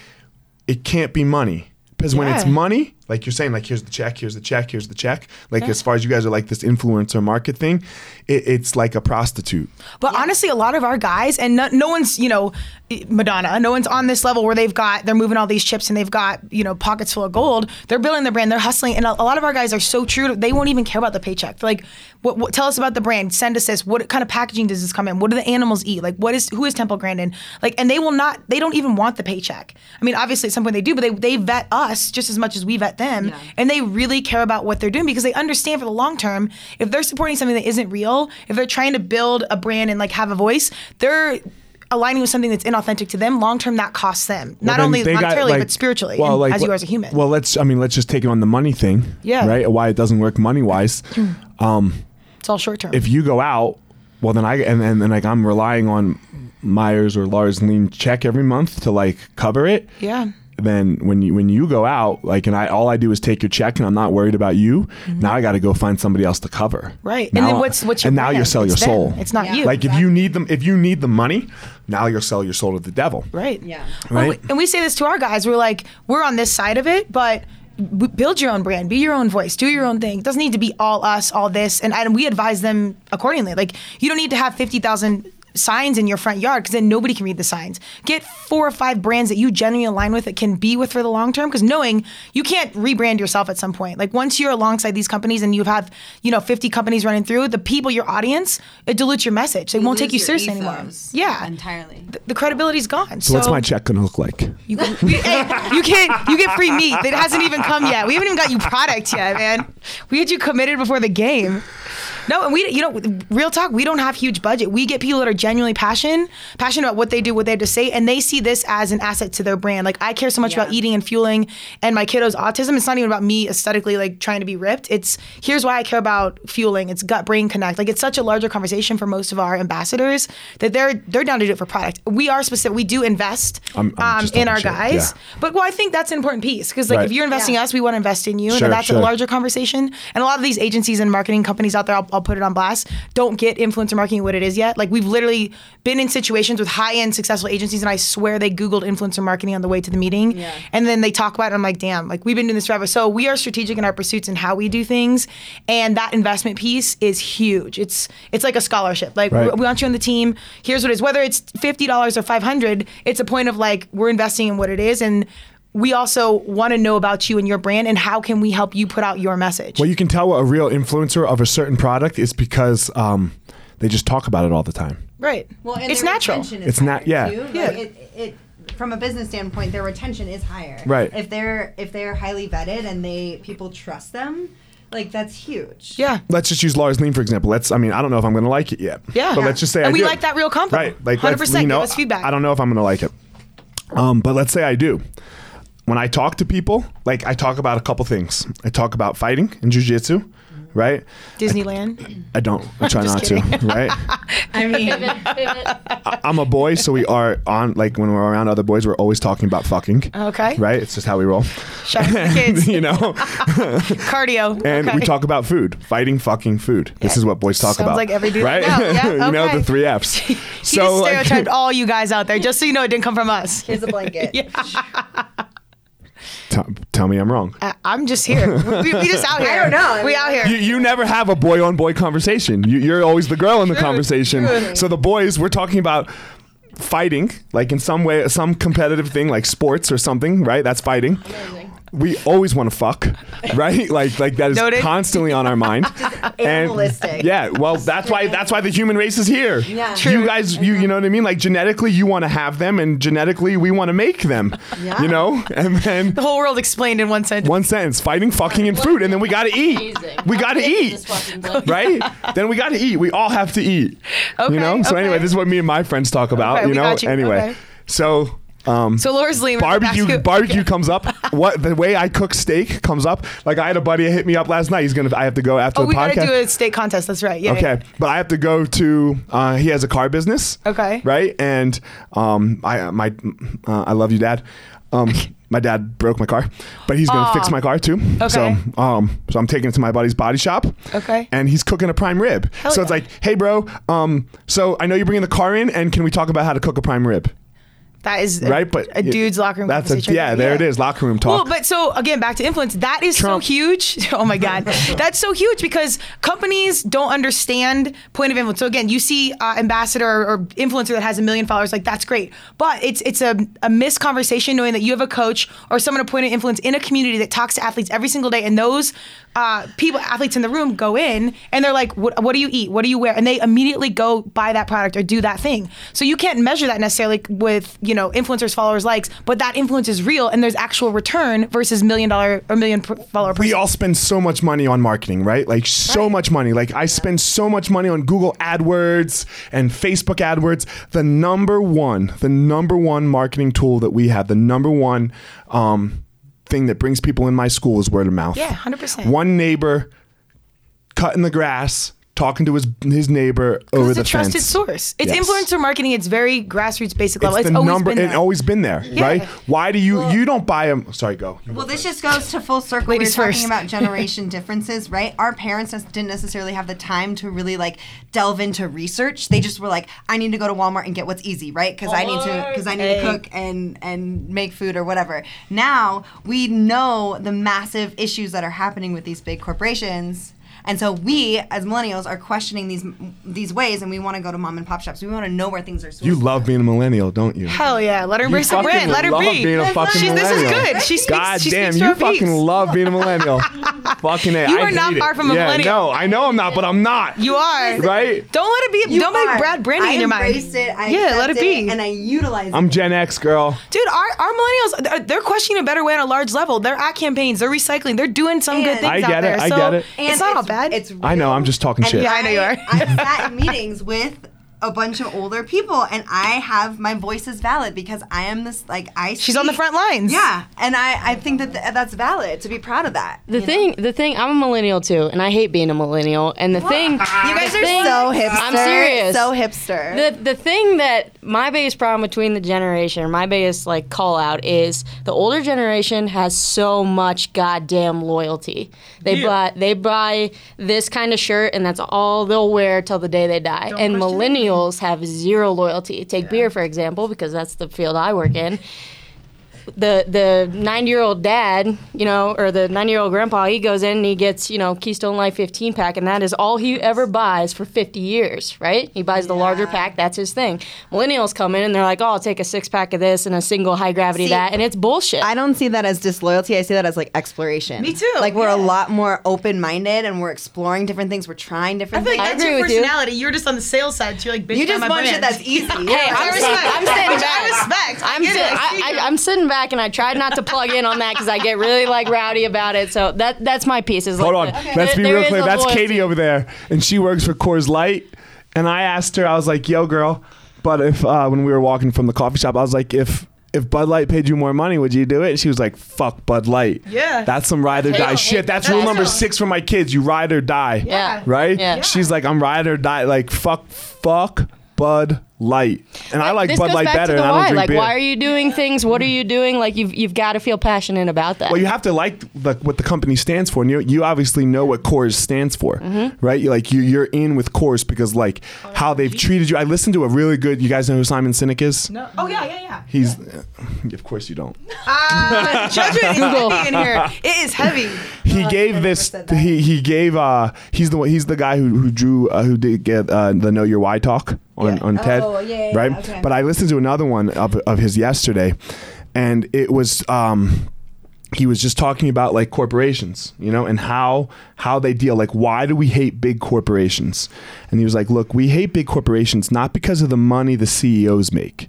S1: it can't be money because when it's
S2: Yeah.
S1: money, like you're saying, like here's the check, here's the check, here's the check. Like as far as you guys are like this influencer market thing, it, it's like a prostitute.
S2: But honestly, a lot of our guys, and no, no one's, you know, Madonna, no one's on this level where they've got, they're moving all these chips and they've got, you know, pockets full of gold. They're building the brand, they're hustling. And a, a lot of our guys are so true, to, they won't even care about the paycheck. They're like, what, what, tell us about the brand, send us this. What kind of packaging does this come in? What do the animals eat? Like, what is, who is Temple Grandin? Like, and they will not, they don't even want the paycheck. I mean, obviously at some point they do, but they, they vet us just as much as we vet them. And they really care about what they're doing because they understand for the long term, if they're supporting something that isn't real, if they're trying to build a brand and like have a voice, they're aligning with something that's inauthentic to them. Long term, that costs them. Not
S1: Well, then
S2: only
S1: they got,
S2: monetarily,
S1: like-
S2: but spiritually,
S1: well,
S2: and
S1: like,
S2: as you
S1: what-
S2: are as a human.
S1: Well, let's. I mean, let's just take it on the money thing.
S2: Yeah.
S1: Right. Why it doesn't work Um, money
S2: *clears throat*
S1: wise.
S2: it's all short term.
S1: if you go out, well then I and then and, like I'm relying on Myers or Lars Lean check every month to like cover it.
S2: Yeah.
S1: Then when you when you go out, like and I all I do is take your check and I'm not worried about you. Now I got to go find somebody else to cover.
S2: Mm-hmm. Right.
S1: Now
S2: and then
S1: I-
S2: what's what's your
S1: and now you
S2: brand?
S1: sell your
S2: It's them.
S1: soul.
S2: It's not you.
S1: like if you need them if you need the money, now you'll sell your soul to the devil.
S2: Right.
S4: Yeah.
S2: Well,
S1: Right?
S2: we- and we say this to our guys. We're like, we're on this side of it, but b- build your own brand, be your own voice, do your own thing. It doesn't need to be all us, all this. And, and we advise them accordingly. Like, you don't need to have 50,000 signs in your front yard because then nobody can read the signs. Get four or five brands that you genuinely align with that can be with for the long term because knowing you can't rebrand yourself at some point. Like once you're alongside these companies and you have, you know, 50 companies running through, the people, your audience, it dilutes your message. They won't take you
S4: lose your
S2: seriously anymore.
S4: ethos
S2: Yeah.
S4: entirely.
S2: The- The credibility's gone. So,
S1: What's my check gonna look like?
S2: You, go- hey, you can't. You get free meat that hasn't even come yet. We haven't even got you product yet, man. We had you committed before the game. No, and we, you know, real talk. We don't have huge budget. We get people that are genuinely passionate, passionate about what they do, what they have to say, and they see this as an asset to their brand. Like I care so much about eating and fueling, and my kiddo's autism. It's not even about me aesthetically like trying to be ripped. It's here's why I care about fueling. It's gut brain connect. Like it's such a larger conversation for most of our ambassadors that they're they're down to do it for product. We are specific. We do invest
S1: I'm- I'm
S2: um,
S1: just
S2: in
S1: talking
S2: our
S1: shit,
S2: guys.
S1: yeah.
S2: But well, I think that's an important piece because like
S1: Right.
S2: if you're investing in us, we want to invest in you,
S1: Sure,
S2: and that's
S1: sure.
S2: a larger conversation. And a lot of these agencies and marketing companies out there, I'll, I'll put it on blast, don't get influencer marketing what it is yet. Like we've literally been in situations with high-end successful agencies, and I swear they googled influencer marketing on the way to the meeting, and then they talk about it. and I'm like, damn, like we've been doing this forever. So we are strategic in our pursuits and how we do things, and that investment piece is huge. It's it's like a scholarship. Like
S1: Right.
S2: we- we want you on the team. Here's what it is. Whether it's fifty dollars or five hundred, it's a point of like we're investing in what it is, and we also want to know about you and your brand and how can we help you put out your message.
S1: Well, you can tell a real influencer of a certain product is because um, they just talk about it all the time.
S2: right.
S4: Well, and
S2: it's
S4: their
S2: natural.
S4: retention
S1: It's not-
S4: higher,
S1: yeah.
S4: too. Like,
S2: Yeah.
S4: it, it, from a business standpoint, their retention is higher.
S1: Right.
S4: If they're if they're highly vetted and they people trust them, like that's huge.
S2: Yeah.
S1: Let's just use Lars Lean for example. Let's. I mean, I don't know if I'm gonna like it yet.
S2: Yeah.
S1: But let's just say
S2: And
S1: I
S2: we
S1: do.
S2: like that real company.
S1: Right. Like let's-
S2: 100%,
S1: you know,
S2: give us feedback.
S1: I don't know if I'm gonna like it. Um, but let's say I do. When I talk to people, like I talk about a couple things. I talk about fighting and jujitsu, right? *laughs*
S2: Disneyland.
S1: I don't. I
S2: *laughs*
S1: try not to, *laughs* right?
S4: I mean,
S1: *laughs* I'm a boy, so we are on like when we're around other boys, we're always talking about fucking.
S2: Okay.
S1: Right? It's just how we roll. *laughs*
S2: Shout out to the kids.
S1: you
S2: *laughs*
S1: know?
S2: Cardio.
S1: And we
S2: Okay.
S1: talk about food, fighting fucking food. This is what boys talk
S2: Sounds
S1: about.
S2: like every dude
S1: right? *laughs*
S2: I know. Yeah,
S1: you know
S2: okay.
S1: the three
S2: *laughs*
S1: F's.
S2: He just
S1: like- *laughs*
S2: stereotyped all you guys out there, just so you know it didn't come from us.
S4: here's
S2: *laughs*
S4: a blanket.
S1: T- tell me I'm wrong.
S2: I- I'm just here. We, we just out here. I
S4: don't know. *laughs* I
S2: We
S4: mean,
S2: out here.
S1: You, you never have a boy on boy conversation. You, you're always the girl in the conversation. So the boys, we're talking about fighting, like in some way, some competitive thing, like sports or something, right? That's fighting. We always want to fuck, right? *laughs* Like like that is
S2: Noted.
S1: constantly on our mind. And-
S4: animalistic.
S1: yeah, well, that's why that's why the human race is here.
S4: Yeah.
S1: You guys, you you know what I mean? Like genetically, you want to have them, and genetically, we want to make them.
S4: Yeah.
S1: You know, and then
S2: The whole world explained in one sentence.
S1: one sentence: fighting, fucking, and food, and then we got to eat. We got to eat *laughs* right? then we got to eat. We all have to eat.
S2: Okay,
S1: you know. So
S2: okay.
S1: anyway, this is what me and my friends talk about.
S2: Okay,
S1: you
S2: we
S1: know.
S2: got you.
S1: Anyway,
S2: Okay.
S1: so um,
S2: So Laura's leaving.
S1: barbecue barbecue comes up. What the way I cook steak comes up. Like I had a buddy hit me up last night. He's gonna. I have to go after
S2: Oh,
S1: the
S2: we
S1: podcast.
S2: gotta do a state contest. That's right. Yeah.
S1: Okay, but I have to go to. Uh, he has a car business.
S2: Okay.
S1: Right, and um, I my uh, I love you, Dad.
S2: *laughs*
S1: Um, my dad broke my car, but he's gonna fix my car too.
S2: Okay.
S1: So um, so I'm taking it to my buddy's body shop.
S2: Okay.
S1: And he's cooking a prime rib. so it's
S2: yeah.
S1: like, hey, bro. Um, so I know you're bringing the car in, and can we talk about how to cook a prime rib?
S2: yeah. That is a-
S1: Right, but
S2: a dude's locker room.
S1: That's a,
S2: conversation.
S1: yeah. There it is, locker room talk.
S2: Well, but so again, back to influence. That is
S1: Trump.
S2: so huge. *laughs* Oh my
S1: *laughs*
S2: God, that's so huge because companies don't understand point of influence. So again, you see uh, ambassador or, or influencer that has a million followers, like that's great, but it's it's a, a missed conversation knowing that you have a coach or someone a point of influence in a community that talks to athletes every single day, and those uh, people, athletes in the room, go in and they're like, what, "What do you eat? What do you wear?" And they immediately go buy that product or do that thing. So you can't measure that necessarily with you know influencers, followers, likes, but that influence is real and there's actual return versus million dollar or million per- follower.
S1: we
S2: person.
S1: all spend so much money on marketing, right? Like so much money. Like I spend so much money on Google AdWords and Facebook AdWords. The number one, the number one marketing tool that we have, the number one um, thing that brings people in my school is word of mouth.
S2: Yeah, 100%.
S1: One neighbor cutting the grass, talking to his his neighbor over
S2: it's
S1: the
S2: a trusted
S1: fence.
S2: source. It's
S1: Yes.
S2: influencer marketing. It's very grassroots, basic
S1: It's
S2: level. It's,
S1: the
S2: always
S1: number.
S2: been
S1: It's
S2: there.
S1: always been there, right?
S2: Yeah.
S1: Why do you you don't buy them? Sorry, go.
S4: Well, this just goes to full circle.
S2: Ladies
S4: we were
S2: first.
S4: talking *laughs* about generation differences, right? Our parents nes- didn't necessarily have the time to really like delve into research. They just were like, "I need to go to Walmart and get what's easy, right? Because I need to, because I need to cook and and make food or whatever." Now we know the massive issues that are happening with these big corporations. And so we, as millennials, are questioning these these ways, and we want to go to mom and pop shops. We want to know where things are. Sourced.
S6: You love being a millennial, don't you?
S2: Hell yeah, let
S6: You
S2: her embrace her
S6: fucking
S2: brand. Let her
S6: love
S2: be.
S6: being a fucking
S2: She's- this is
S6: millennial.
S2: good. She speaks.
S6: God
S2: she
S6: damn,
S2: speaks to
S6: you
S2: her peeps.
S6: fucking love being a
S2: *laughs*
S6: millennial. fucking A.
S2: You
S6: I
S2: are not
S6: hate it.
S2: far from a
S6: yeah,
S2: millennial.
S6: No, I know I'm not, but I'm not.
S2: You are
S6: Right?
S2: Don't let it be.
S4: You
S2: don't
S4: are.
S2: make Brad Brandy
S4: I
S2: in your mind.
S4: embraced it. I
S2: yeah, let it
S4: accept
S2: be.
S4: and I utilize
S6: I'm Gen X, girl.
S2: Dude, our, our millennials, they're- they're questioning a better way on a large level. They're at campaigns, they're recycling, they're doing some good
S4: And-
S2: things
S4: I
S2: out
S6: get it,
S2: there.
S6: I
S2: so
S6: get it.
S4: And
S2: It's not all bad.
S4: It's
S6: I know, I'm just talking shit.
S2: Yeah, I know you are.
S4: *laughs* I've sat in meetings with a bunch of older people, and I have my voice is valid because I am this like I.
S2: She's on the
S4: speak-
S2: front lines.
S4: Yeah, and I I think that th- that's valid to be proud of that.
S5: The thing, the thing, I'm a millennial too, and I hate being a millennial. And the thing,
S4: You guys are
S5: thing-
S4: so hipster.
S5: I'm serious.
S4: So hipster.
S5: the the thing that my biggest problem between the generation, or my biggest like call out is the older generation has so much goddamn loyalty. They buy they buy this kind of shirt, and that's all they'll wear till the day they die. and millennials have zero loyalty. Take beer for example, because that's the field I work in. the the nine year old dad, you know, or the nine year old grandpa, he goes in and he gets you know Keystone Light 15 pack, and that is all he ever buys for 50 years, right? He buys the larger pack. That's his thing. Millennials come in and they're like, oh, I'll take a six pack of this and a single high gravity
S4: See,
S5: that, and it's bullshit.
S4: I don't see that as disloyalty. I see that as like exploration. Me
S2: too,
S4: Like we're a
S2: yeah.
S4: lot more open minded and we're exploring different things. We're trying different
S2: I feel
S4: things.
S2: like that's
S5: agree
S2: your
S5: with you.
S2: personality. You. are just on the sales side. So you're like, bitch,
S4: you
S2: buy
S4: just
S2: my
S4: want shit
S2: brand. *laughs*
S4: that's easy.
S5: Hey,
S4: *laughs*
S5: I'm,
S2: respect.
S5: sit- I'm sitting
S2: Which
S5: back.
S2: I respect. I
S5: I'm,
S2: get
S5: sit-
S2: it. I see
S5: I, I, am sitting back, and I tried not to plug in on that because I get really like rowdy about it. So that that's my piece. Is
S1: Hold on.
S5: like, the-
S1: Let's be
S5: there- there
S1: real
S5: is
S1: clear.
S5: a
S1: That's
S5: loyalty.
S1: Katie over there, and she works for Coors Light. And I asked her, I was like, "Yo, girl," but if uh, when we were walking from the coffee shop, I was like, "If if Bud Light paid you more money, would you do it?" And she was like, "Fuck Bud Light.
S2: Yeah.
S1: that's some ride or die
S5: Hell,
S1: shit.
S5: it-
S1: That's
S5: that's
S1: rule number
S5: hell.
S1: six for my kids. You ride or die.
S5: Yeah.
S1: right.
S5: Yeah.
S1: She's like, I'm ride or die. Like fuck, fuck Bud Light. And I like
S5: this
S1: Bud
S5: goes
S1: Light
S5: back
S1: better.
S5: To the
S1: and I
S5: why.
S1: don't drink
S5: like,
S1: beer.
S5: why are you doing things? What are you doing? Like, you've you've got to feel passionate about that.
S1: Well, you have to like the, what the company stands for, and you you obviously know what Coors stands for,
S5: Mm-hmm.
S1: right? You like you you're in with Coors because like
S4: Oh,
S1: how they've treated you. I listened to a really good. You guys know who Simon Sinek is?
S2: No. Oh yeah, yeah, *laughs* yeah.
S1: He's, *laughs* of course you don't.
S2: Uh, judgment is heavy in here. It is heavy. *laughs*
S1: He gave this. He he gave. Uh, he's the one. He's the guy who who drew uh, who did get uh, the Know Your Why talk on on TED.
S4: Oh, yeah, yeah,
S1: right.
S4: yeah, okay.
S1: But I listened to another one of of his yesterday, and it was. Um, he was just talking about like corporations, you know, and how how they deal. Like, why do we hate big corporations? And he was like, "Look, we hate big corporations not because of the money the CEOs make.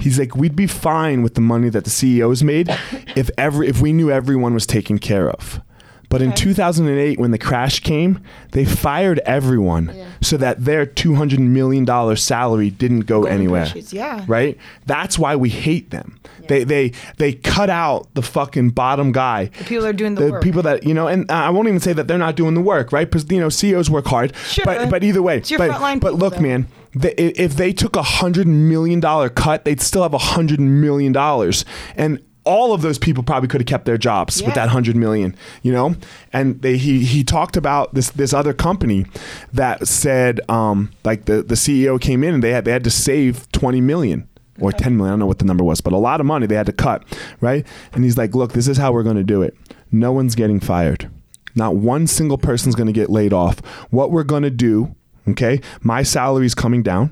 S1: He's like, we'd be fine with the money that the CEOs made if every if we knew everyone was taken care of." But in 2008, when the crash came, they fired everyone so that their $200 million salary didn't go anywhere
S2: parachutes, yeah.
S1: right? That's why we hate them. They they they cut out the fucking bottom guy. The
S2: people that are doing the work.
S1: people that you know, and uh, I won't even say that they're not doing the work, right? Because you know, CEOs work hard.
S2: Sure.
S1: But but either way,
S2: It's your
S1: but,
S2: frontline
S1: but
S2: people,
S1: look,
S2: though.
S1: man, the, i- if they took a hundred million dollar cut, they'd still have a hundred million dollars, and all of those people probably could have kept their jobs with
S2: Yeah.
S1: that hundred million, you know. And they, he he talked about this this other company that said um, like the the CEO came in and they had they had to save twenty million or ten million. I don't know what the number was, but a lot of money they had to cut, right? And he's like, look, this is how we're going to do it. No one's getting fired. Not one single person's going to get laid off. What we're going to do, okay? My salary's coming down.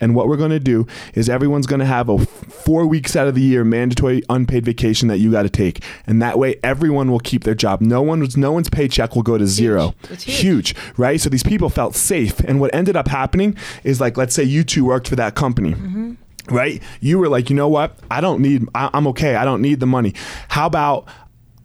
S1: And what we're going to do is everyone's going to have a f- four weeks out of the year mandatory unpaid vacation that you got to take, and that way everyone will keep their job. No one's no one's paycheck will go to zero. It's huge. right? So these people felt safe, and what ended up happening is like, let's say you two worked for that company. Right? You were like, you know what? I don't need, I, I'm okay. I don't need the money. How about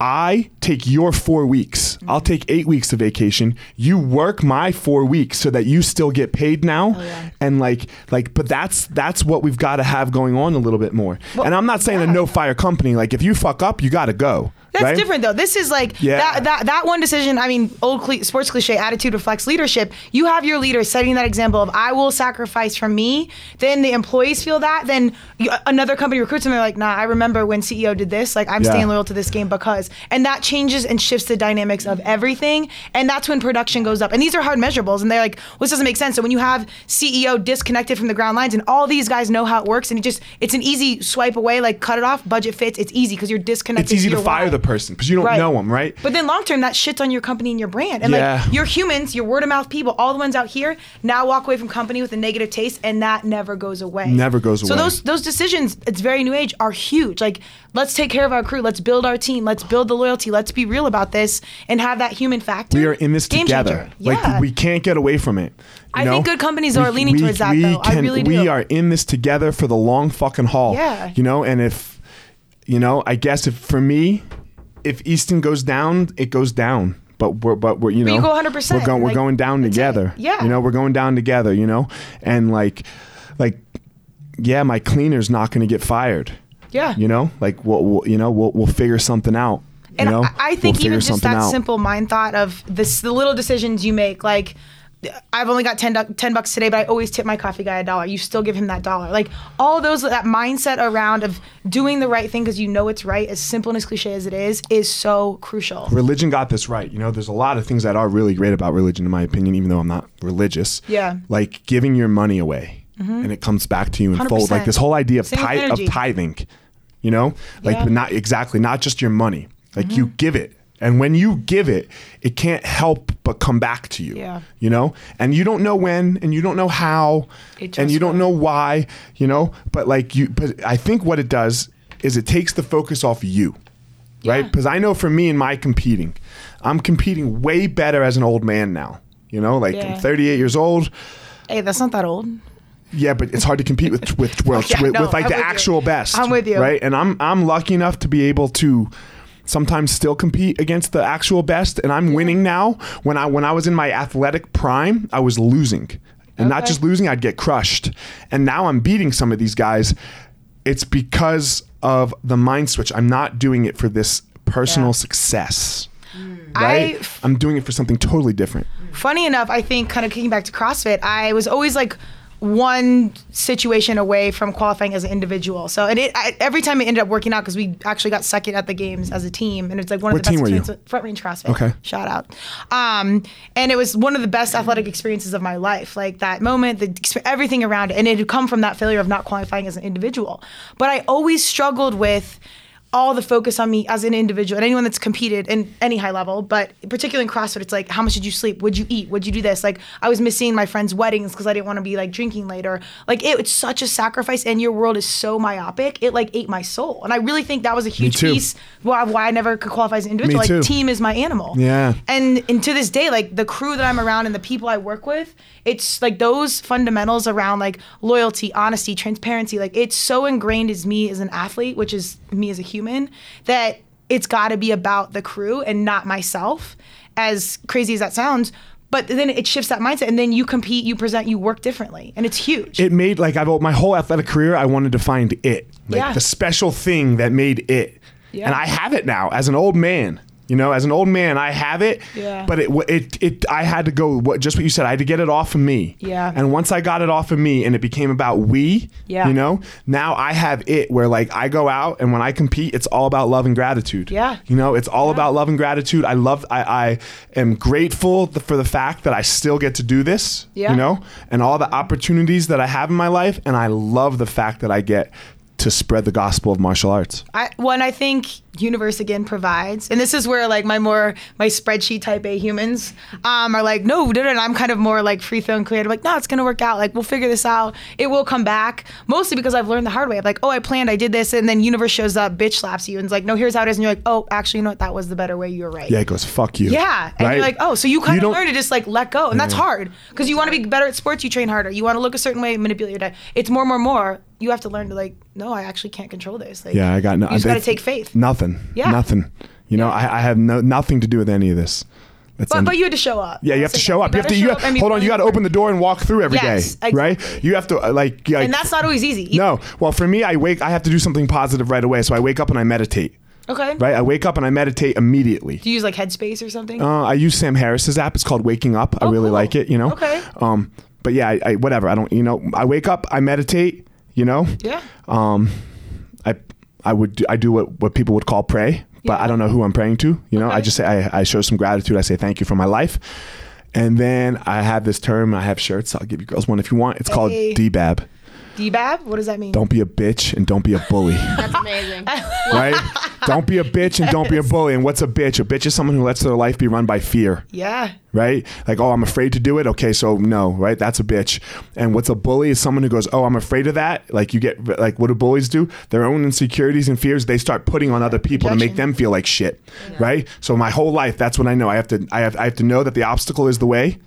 S1: I take your four weeks.
S2: Mm-hmm.
S1: I'll take eight weeks of vacation. You work my four weeks so that you still get paid now.
S2: Oh,
S1: And like, like, but that's that's what we've got to have going on a little bit more. and I'm not saying a no fire company. Like, if you fuck up, you got to go.
S2: That's
S1: right?
S2: different though. This is like
S1: Yeah.
S2: that, that that one decision. I mean, old cle- sports cliche: attitude reflects leadership. You have your leader setting that example of "I will sacrifice for me." Then the employees feel that. Then you, another company recruits them. They're like, "Nah, I remember when CEO did this. Like, I'm
S1: Yeah.
S2: staying loyal to this game because." And that changes and shifts the dynamics of everything. And that's when production goes up. And these are hard measurables. And they're like, well, "This doesn't make sense." So when you have CEO disconnected from the ground lines, and all these guys know how it works, and it just it's an easy swipe away, like cut it off, budget fits. It's easy because you're disconnected.
S1: It's easy to
S2: your
S1: fire
S2: why.
S1: the the person because you don't
S2: Right.
S1: know them, right?
S2: But then long term, that shits on your company and your brand. And
S1: Yeah.
S2: like your humans, your word of mouth people, all the ones out here now walk away from company with a negative taste, and that never goes away.
S1: Never goes
S2: So
S1: away.
S2: those those decisions, it's very new age, are huge. Like let's take care of our crew, let's build our team, let's build the loyalty, let's be real about this, and have that human factor.
S1: we are in this
S2: Game
S1: together.
S2: changer. Yeah.
S1: Like we can't get away from it. you
S2: I think
S1: know?
S2: good companies are leaning towards that, though. I really
S1: We
S2: do.
S1: are in this together for the long fucking haul.
S2: Yeah.
S1: You know, and if you know, I guess if for me, if Easton goes down, it goes down. But we're but we're you know
S2: you go 100%,
S1: we're going we're
S2: like,
S1: going down
S2: that's it.
S1: together.
S2: Yeah.
S1: You know, we're going down together. You know, and like like yeah, my cleaner's not going to get fired.
S2: Yeah.
S1: You know, like we'll, we'll you know we'll we'll figure something out.
S2: and
S1: you know,
S2: I, I
S1: We'll
S2: think
S1: figure
S2: even just
S1: something
S2: that
S1: out.
S2: simple mind thought of this, the little decisions you make, like I've only got 10, du- 10 bucks today, but I always tip my coffee guy a dollar. You still give him that dollar. Like all those, that mindset around of doing the right thing because you know it's right, as simple and as cliche as it is, is so crucial.
S1: religion got this right. You know, there's a lot of things that are really great about religion, in my opinion, even though I'm not religious.
S2: Yeah.
S1: Like giving your money away and it comes back to you in fold. Like
S2: 100%.
S1: this whole idea of,
S2: Same
S1: tithe, of
S2: energy.
S1: tithing, you know, like,
S2: Yeah. Mm-hmm.
S1: but not exactly, not just your money. Like you give it. And when you give it, it can't help but come back to you.
S2: Yeah.
S1: You know? And you don't know when and you don't know how and
S2: just
S1: you don't know why, you know? But like you but I think what it does is it takes the focus off you right? Because I know for me and my competing, I'm competing way better as an old man now. You know, like
S2: Yeah.
S1: I'm 38 years old.
S2: Hey, that's not that old.
S1: Yeah, but it's hard to compete with
S2: *laughs*
S1: with world
S2: Yeah,
S1: with,
S2: no,
S1: with like
S2: I'm
S1: the
S2: with you.
S1: actual best.
S2: I'm with you.
S1: right? And I'm I'm lucky enough to be able to sometimes still compete against the actual best, and I'm winning now. When I when I was in my athletic prime, I was losing, and not just losing, I'd get crushed. And now I'm beating some of these guys. It's because of the mind switch. I'm not doing it for this personal success. Right?
S2: Hmm. I
S1: I'm doing it for something totally different.
S2: funny enough, I think kind of kicking back to CrossFit, I was always like one situation away from qualifying as an individual. So and it, I, every time it ended up working out because we actually got second at the games as a team, and it's like one
S1: What
S2: of the
S1: team
S2: best
S1: were you?
S2: experiences- Front Range CrossFit.
S1: Okay.
S2: shout out. Um, and it was one of the best athletic experiences of my life. Like that moment, the exp- everything around it, and it had come from that failure of not qualifying as an individual. But I always struggled with all the focus on me as an individual and anyone that's competed in any high level but particularly in crossfit it's like how much did you sleep would you eat would you do this like i was missing my friends weddings because i didn't want to be like drinking later like it, it's such a sacrifice and your world is so myopic it like ate my soul and i really think that was a huge
S1: too.
S2: piece why, why i never could qualify as an individual like
S1: too.
S2: team is my animal
S1: Yeah.
S2: and and to this day like the crew that i'm around and the people i work with it's like those fundamentals around like loyalty honesty transparency like it's so ingrained as me as an athlete which is me as a human that it's got to be about the crew and not myself as crazy as that sounds but then it shifts that mindset and then you compete you present you work differently and it's huge
S1: it made like I've my whole athletic career I wanted to find it like
S2: Yeah.
S1: the special thing that made it
S2: Yeah.
S1: and I have it now as an old man you know as an old man I have it
S2: Yeah.
S1: but it w- it it I had to go what just what you said I had to get it off of me
S2: Yeah.
S1: and once I got it off of me and it became about we
S2: Yeah.
S1: you know now I have it where like I go out and when I compete it's all about love and gratitude
S2: Yeah.
S1: you know it's all about love and gratitude I love I I am grateful th- for the fact that I still get to do this
S2: Yeah.
S1: you know, and all the opportunities that I have in my life. And I love the fact that I get to spread the gospel of martial arts.
S2: I, one I think universe again provides, and this is where like my more my spreadsheet type A humans um, are like, no, no, no, no. I'm kind of more like free throw and creative. Like, no, it's gonna work out. Like, we'll figure this out. It will come back. Mostly because I've learned the hard way. I'm like, oh, I planned, I did this, and then universe shows up, bitch slaps you, and it's like, no, here's how it is, and you're like, oh, actually, you know what? That was the better way. You were right.
S1: Yeah, it goes, fuck you.
S2: Yeah, and
S1: Right?
S2: you're like, oh, so you kind
S1: You
S2: of
S1: don't-
S2: learn to just like let go, and that's hard because you want to be better at sports, you train harder. You want to look a certain way, manipulate your diet. It's more, more, more. You have to learn to like, no, I actually can't control this. Like,
S1: Yeah, I got nothing.
S2: You just gotta take faith.
S1: Nothing.
S2: Yeah.
S1: Nothing. You know, I, I have no, nothing to do with any of this. Let's
S2: But,
S1: end
S2: but
S1: it.
S2: you had to show up.
S1: Yeah, you have to show up. You have to. You have, hold on. You got to open the door and walk through every day,
S2: Yes, exactly.
S1: right? You have to uh, like. yeah,
S2: And that's not always easy.
S1: No. Well, for me, I wake. I have to do something positive right away. So I wake up and I meditate.
S2: Okay.
S1: Right. I wake up and I meditate immediately.
S2: Do you use like Headspace or something?
S1: Uh, I use Sam Harris's app. It's called Waking Up. I really
S2: Oh, cool.
S1: like it. You know.
S2: Okay.
S1: Um, but yeah, I, I whatever. I don't. You know, I wake up. I meditate. You know.
S2: yeah.
S1: Um, I I would do, I do what what people would call pray, but I don't know who I'm praying to. You know, I just say I, I show some gratitude. I say thank you for my life. And then I have this term. I have shirts. I'll give you girls one if you want. It's called
S2: Hey.
S1: DBAB.
S2: DBAB? What does that mean?
S1: Don't be a bitch and don't be a
S2: *laughs*
S1: bully,
S5: That's *laughs* amazing.
S1: right? don't be a bitch and don't be a bully. And what's a bitch? A bitch is someone who lets their life be run by fear.
S2: Yeah.
S1: right? Like, oh, I'm afraid to do it. Okay, so no, right? That's a bitch. And what's a bully is someone who goes, oh, I'm afraid of that. Like, you get, like, what do bullies do? Their own insecurities and fears they start putting on other people to make them feel like shit, right? So my whole life, that's what I know. I have to, I have, I have to know that the obstacle is the way.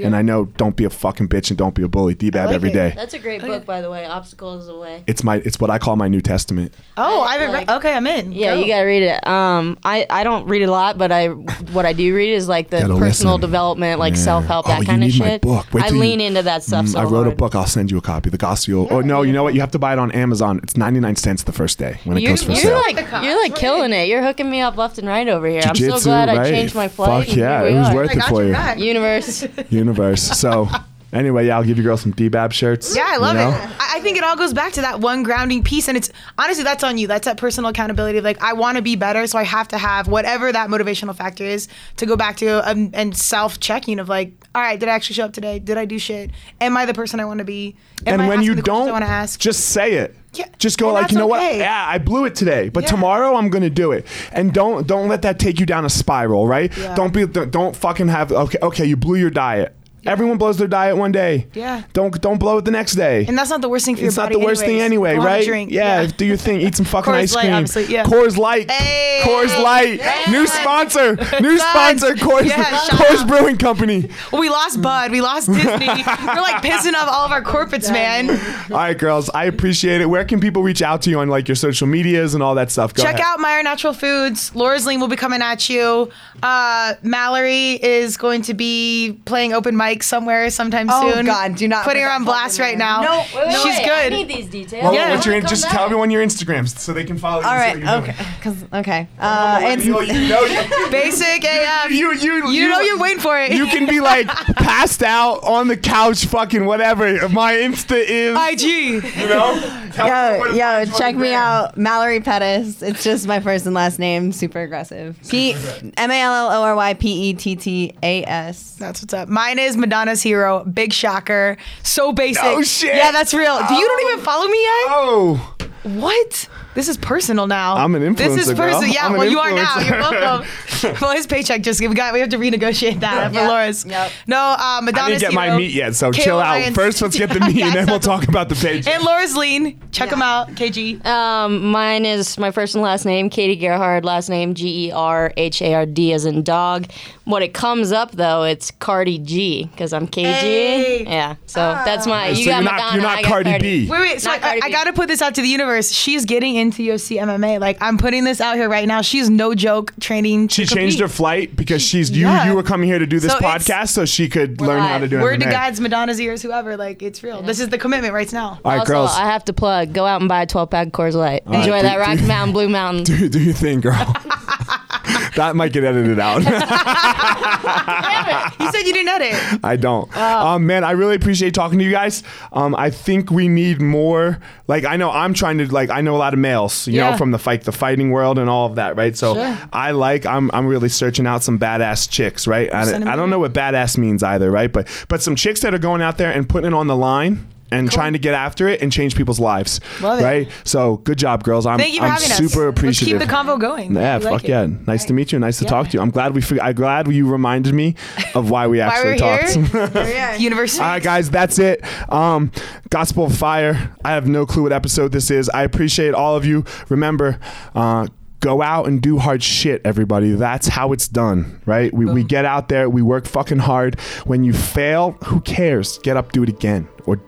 S1: And I know, don't be a fucking bitch and don't be a bully. D-bab
S2: like
S1: every
S2: it.
S1: day.
S5: That's a great book, by the way. Obstacles away.
S1: It's my, it's what I call my New Testament.
S2: Oh, I haven't
S5: Like-
S2: read. Okay, I'm in.
S5: Yeah,
S2: Go.
S5: you gotta read it. Um, I, I don't read a lot, but I what I do read is like the
S1: Gotta
S5: personal
S1: listen.
S5: development, like
S1: Yeah.
S5: self help,
S1: Oh,
S5: that
S1: you
S5: kind of
S1: need my
S5: shit.
S1: book. Wait
S5: I
S1: till you-
S5: lean into that stuff.
S1: Mm,
S5: so
S1: I wrote a
S5: hard.
S1: book. I'll send you a copy. The Gospel. Oh no, you know what? You have to buy it on Amazon. It's ninety nine cents the first day when it
S5: You're,
S1: goes for
S5: you're
S1: sale.
S5: like you're like killing it. You're hooking me up left and right over here. I'm so
S1: Jiu-jitsu,
S5: glad I
S1: right?
S5: changed my flight.
S1: Fuck
S5: and
S1: yeah,
S5: here we
S1: it was
S5: are.
S1: worth
S2: I
S1: it
S2: got
S1: for
S2: your
S1: you.
S2: back.
S5: *laughs* Universe.
S1: universe. So anyway, yeah, I'll give your girl some DBAB shirts.
S2: Yeah, I love
S1: you know?
S2: it. I, I think it all goes back to that one grounding piece, and it's honestly that's on you. That's that personal accountability. Of like I want to be better, so I have to have whatever that motivational factor is to go back to um, and self checking of like, all right, did I actually show up today? Did I do shit? Am I the person I want to be? Am
S1: And
S2: I
S1: when
S2: asking
S1: you
S2: the questions I
S1: don't,
S2: want to ask.
S1: just say it.
S2: Yeah,
S1: Just go
S2: and
S1: like,
S2: that's
S1: you know what?
S2: okay.
S1: Yeah, I blew it today, but
S2: Yeah.
S1: tomorrow I'm gonna do it. And don't don't let that take you down a spiral, right?
S2: Yeah.
S1: Don't be don't don't fucking have okay okay you blew your diet. Everyone blows their diet one day.
S2: Yeah.
S1: Don't don't blow it the next day.
S2: and that's not the worst thing for
S1: it's
S2: your
S1: not
S2: body.
S1: the worst thing
S2: anyways.
S1: anyway,
S2: Go have a
S1: right?
S2: drink.
S1: Yeah, do your thing.
S2: *laughs*
S1: Eat some fucking
S2: Coors
S1: ice
S2: Light,
S1: cream.
S2: obviously, yeah.
S1: Coors Light.
S2: Hey!
S1: Coors Light. New
S2: *laughs*
S1: sponsor. New
S2: Son.
S1: sponsor. Coors,
S2: Yeah, shut
S1: Coors Brewing Company.
S2: Well, we lost Bud. We lost Disney. We're
S1: *laughs*
S2: like pissing off all of our corporates, man.
S1: All right, girls. I appreciate it. Where can people reach out to you on like your social medias and all that stuff? Go
S2: Check
S1: ahead.
S2: out Meyer Natural Foods. Laura's Lean will be coming at you. Uh, Mallory is going to be playing open mic somewhere sometime
S4: Oh,
S2: soon.
S4: God, do not
S2: putting
S4: put
S2: her
S4: that
S2: on
S4: fucking
S2: blast right
S4: name.
S2: now.
S4: No, wait, wait,
S2: she's
S5: Wait, I
S2: good.
S5: need these details.
S1: Well,
S2: Yeah.
S1: what's your, just tell
S5: me.
S1: everyone your Instagrams so they can follow you.
S4: All right.
S1: and see what
S4: Okay.
S1: you're
S4: Because okay. Uh, it's
S1: doing. You, know, you, know,
S2: Basic AF.
S1: you, you,
S2: You know you're waiting for it. *laughs*
S1: You can be like passed out on the couch, fucking whatever. My Insta is,
S2: IG.
S1: you know. Tell
S4: yo
S1: everyone
S4: yo.
S1: to
S4: Check me
S1: Instagram.
S4: out, Mallory Pettis. It's just my first and last name. Super aggressive. P M A L L O R Y P E T T A S.
S2: That's what's up. Mine is Madonna's Hero. Big shocker. So basic.
S1: No shit.
S2: Yeah, that's real. Do you don't even follow me yet?
S1: Oh,
S2: What? This is personal now.
S1: I'm an
S2: This
S1: influencer,
S2: is personal.
S1: girl.
S2: Yeah,
S1: I'm an
S2: well, you are now.
S1: influencer.
S2: You're
S1: *laughs*
S2: welcome. well, his paycheck just we got. We have to renegotiate that for
S4: Yep.
S2: Laura's.
S4: Yep.
S2: No, uh, Madonna.
S1: I didn't get my meat yet, so chill out. First, let's get the meat, and then we'll talk about the page.
S2: And Laura's lean. Check
S4: Yeah.
S2: them out. KG.
S5: Um, mine is my first and last name, Katie Gerhard, last name G E R H A R D as in dog. What it comes up though, it's Cardi G because I'm KG.
S2: Hey.
S5: Yeah, so that's my.
S1: so
S5: You got
S1: you're
S5: Madonna,
S1: not, you're
S5: I
S1: not
S5: got
S1: Cardi, B.
S2: Wait, wait. So
S5: Not
S2: I,
S5: Cardi
S2: I
S5: B.
S2: got to put this out to the universe. She's getting into UFC MMA. Like I'm putting this out here right now. She's no joke training.
S1: She
S2: to
S1: changed
S2: compete.
S1: her flight because she's you.
S2: yeah.
S1: You were coming here to do this
S2: So it's-
S1: podcast, so she could learn how
S5: live.
S1: to do it.
S2: Word to God's Madonna's ears, whoever. Like it's real. This is the commitment right
S1: *laughs*
S2: now.
S1: All right,
S5: Also,
S1: girls,
S5: I have to plug. Go out and buy a 12 pack Coors Light. Enjoy
S1: right,
S5: that
S1: do-
S5: Rocky
S1: do-
S5: Mountain, Blue Mountain.
S1: do, do your thing, girl. that might get edited out.
S2: You said you didn't edit.
S1: I don't.
S2: Oh.
S1: Um, man, I really appreciate talking to you guys. Um, I think we need more. Like, I know I'm trying to like. I know a lot of males, you know,
S2: Yeah.
S1: from the fight, the fighting world, and all of that, right? So I like. I'm I'm really searching out some badass chicks, right? I,
S2: Send 'em
S1: I
S2: your
S1: don't know what badass means either, right? But but some chicks that are going out there and putting it on the line. And trying to get after it and change people's lives,
S2: Love it.
S1: right? So good job, girls. I'm,
S2: Thank you for
S1: I'm
S2: having us.
S1: super
S2: Let's
S1: appreciative.
S2: keep the convo going.
S1: Yeah,
S2: We
S1: fuck
S2: like it.
S1: yeah. Nice to meet you. Nice to talk to you. I'm glad we. Fig- I'm glad you reminded me of why we
S2: Why
S1: actually
S2: we're
S1: talked. *laughs*
S2: here?
S4: Yeah.
S2: University.
S1: All right, guys, that's it. Um, Gospel of Fire. I have no clue what episode this is. I appreciate all of you. Remember, uh, go out and do hard shit, everybody. That's how it's done, right? We, we get out there, we work fucking hard. When you fail, who cares? Get up, do it again, or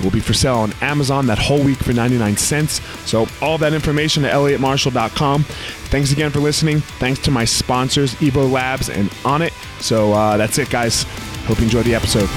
S1: It will be for sale on Amazon that whole week for 99 cents. So, all that information at elliottmarshall.com. Thanks again for listening. Thanks to my sponsors, Evo Labs and On It. So, uh, that's it, guys. Hope you enjoyed the episode.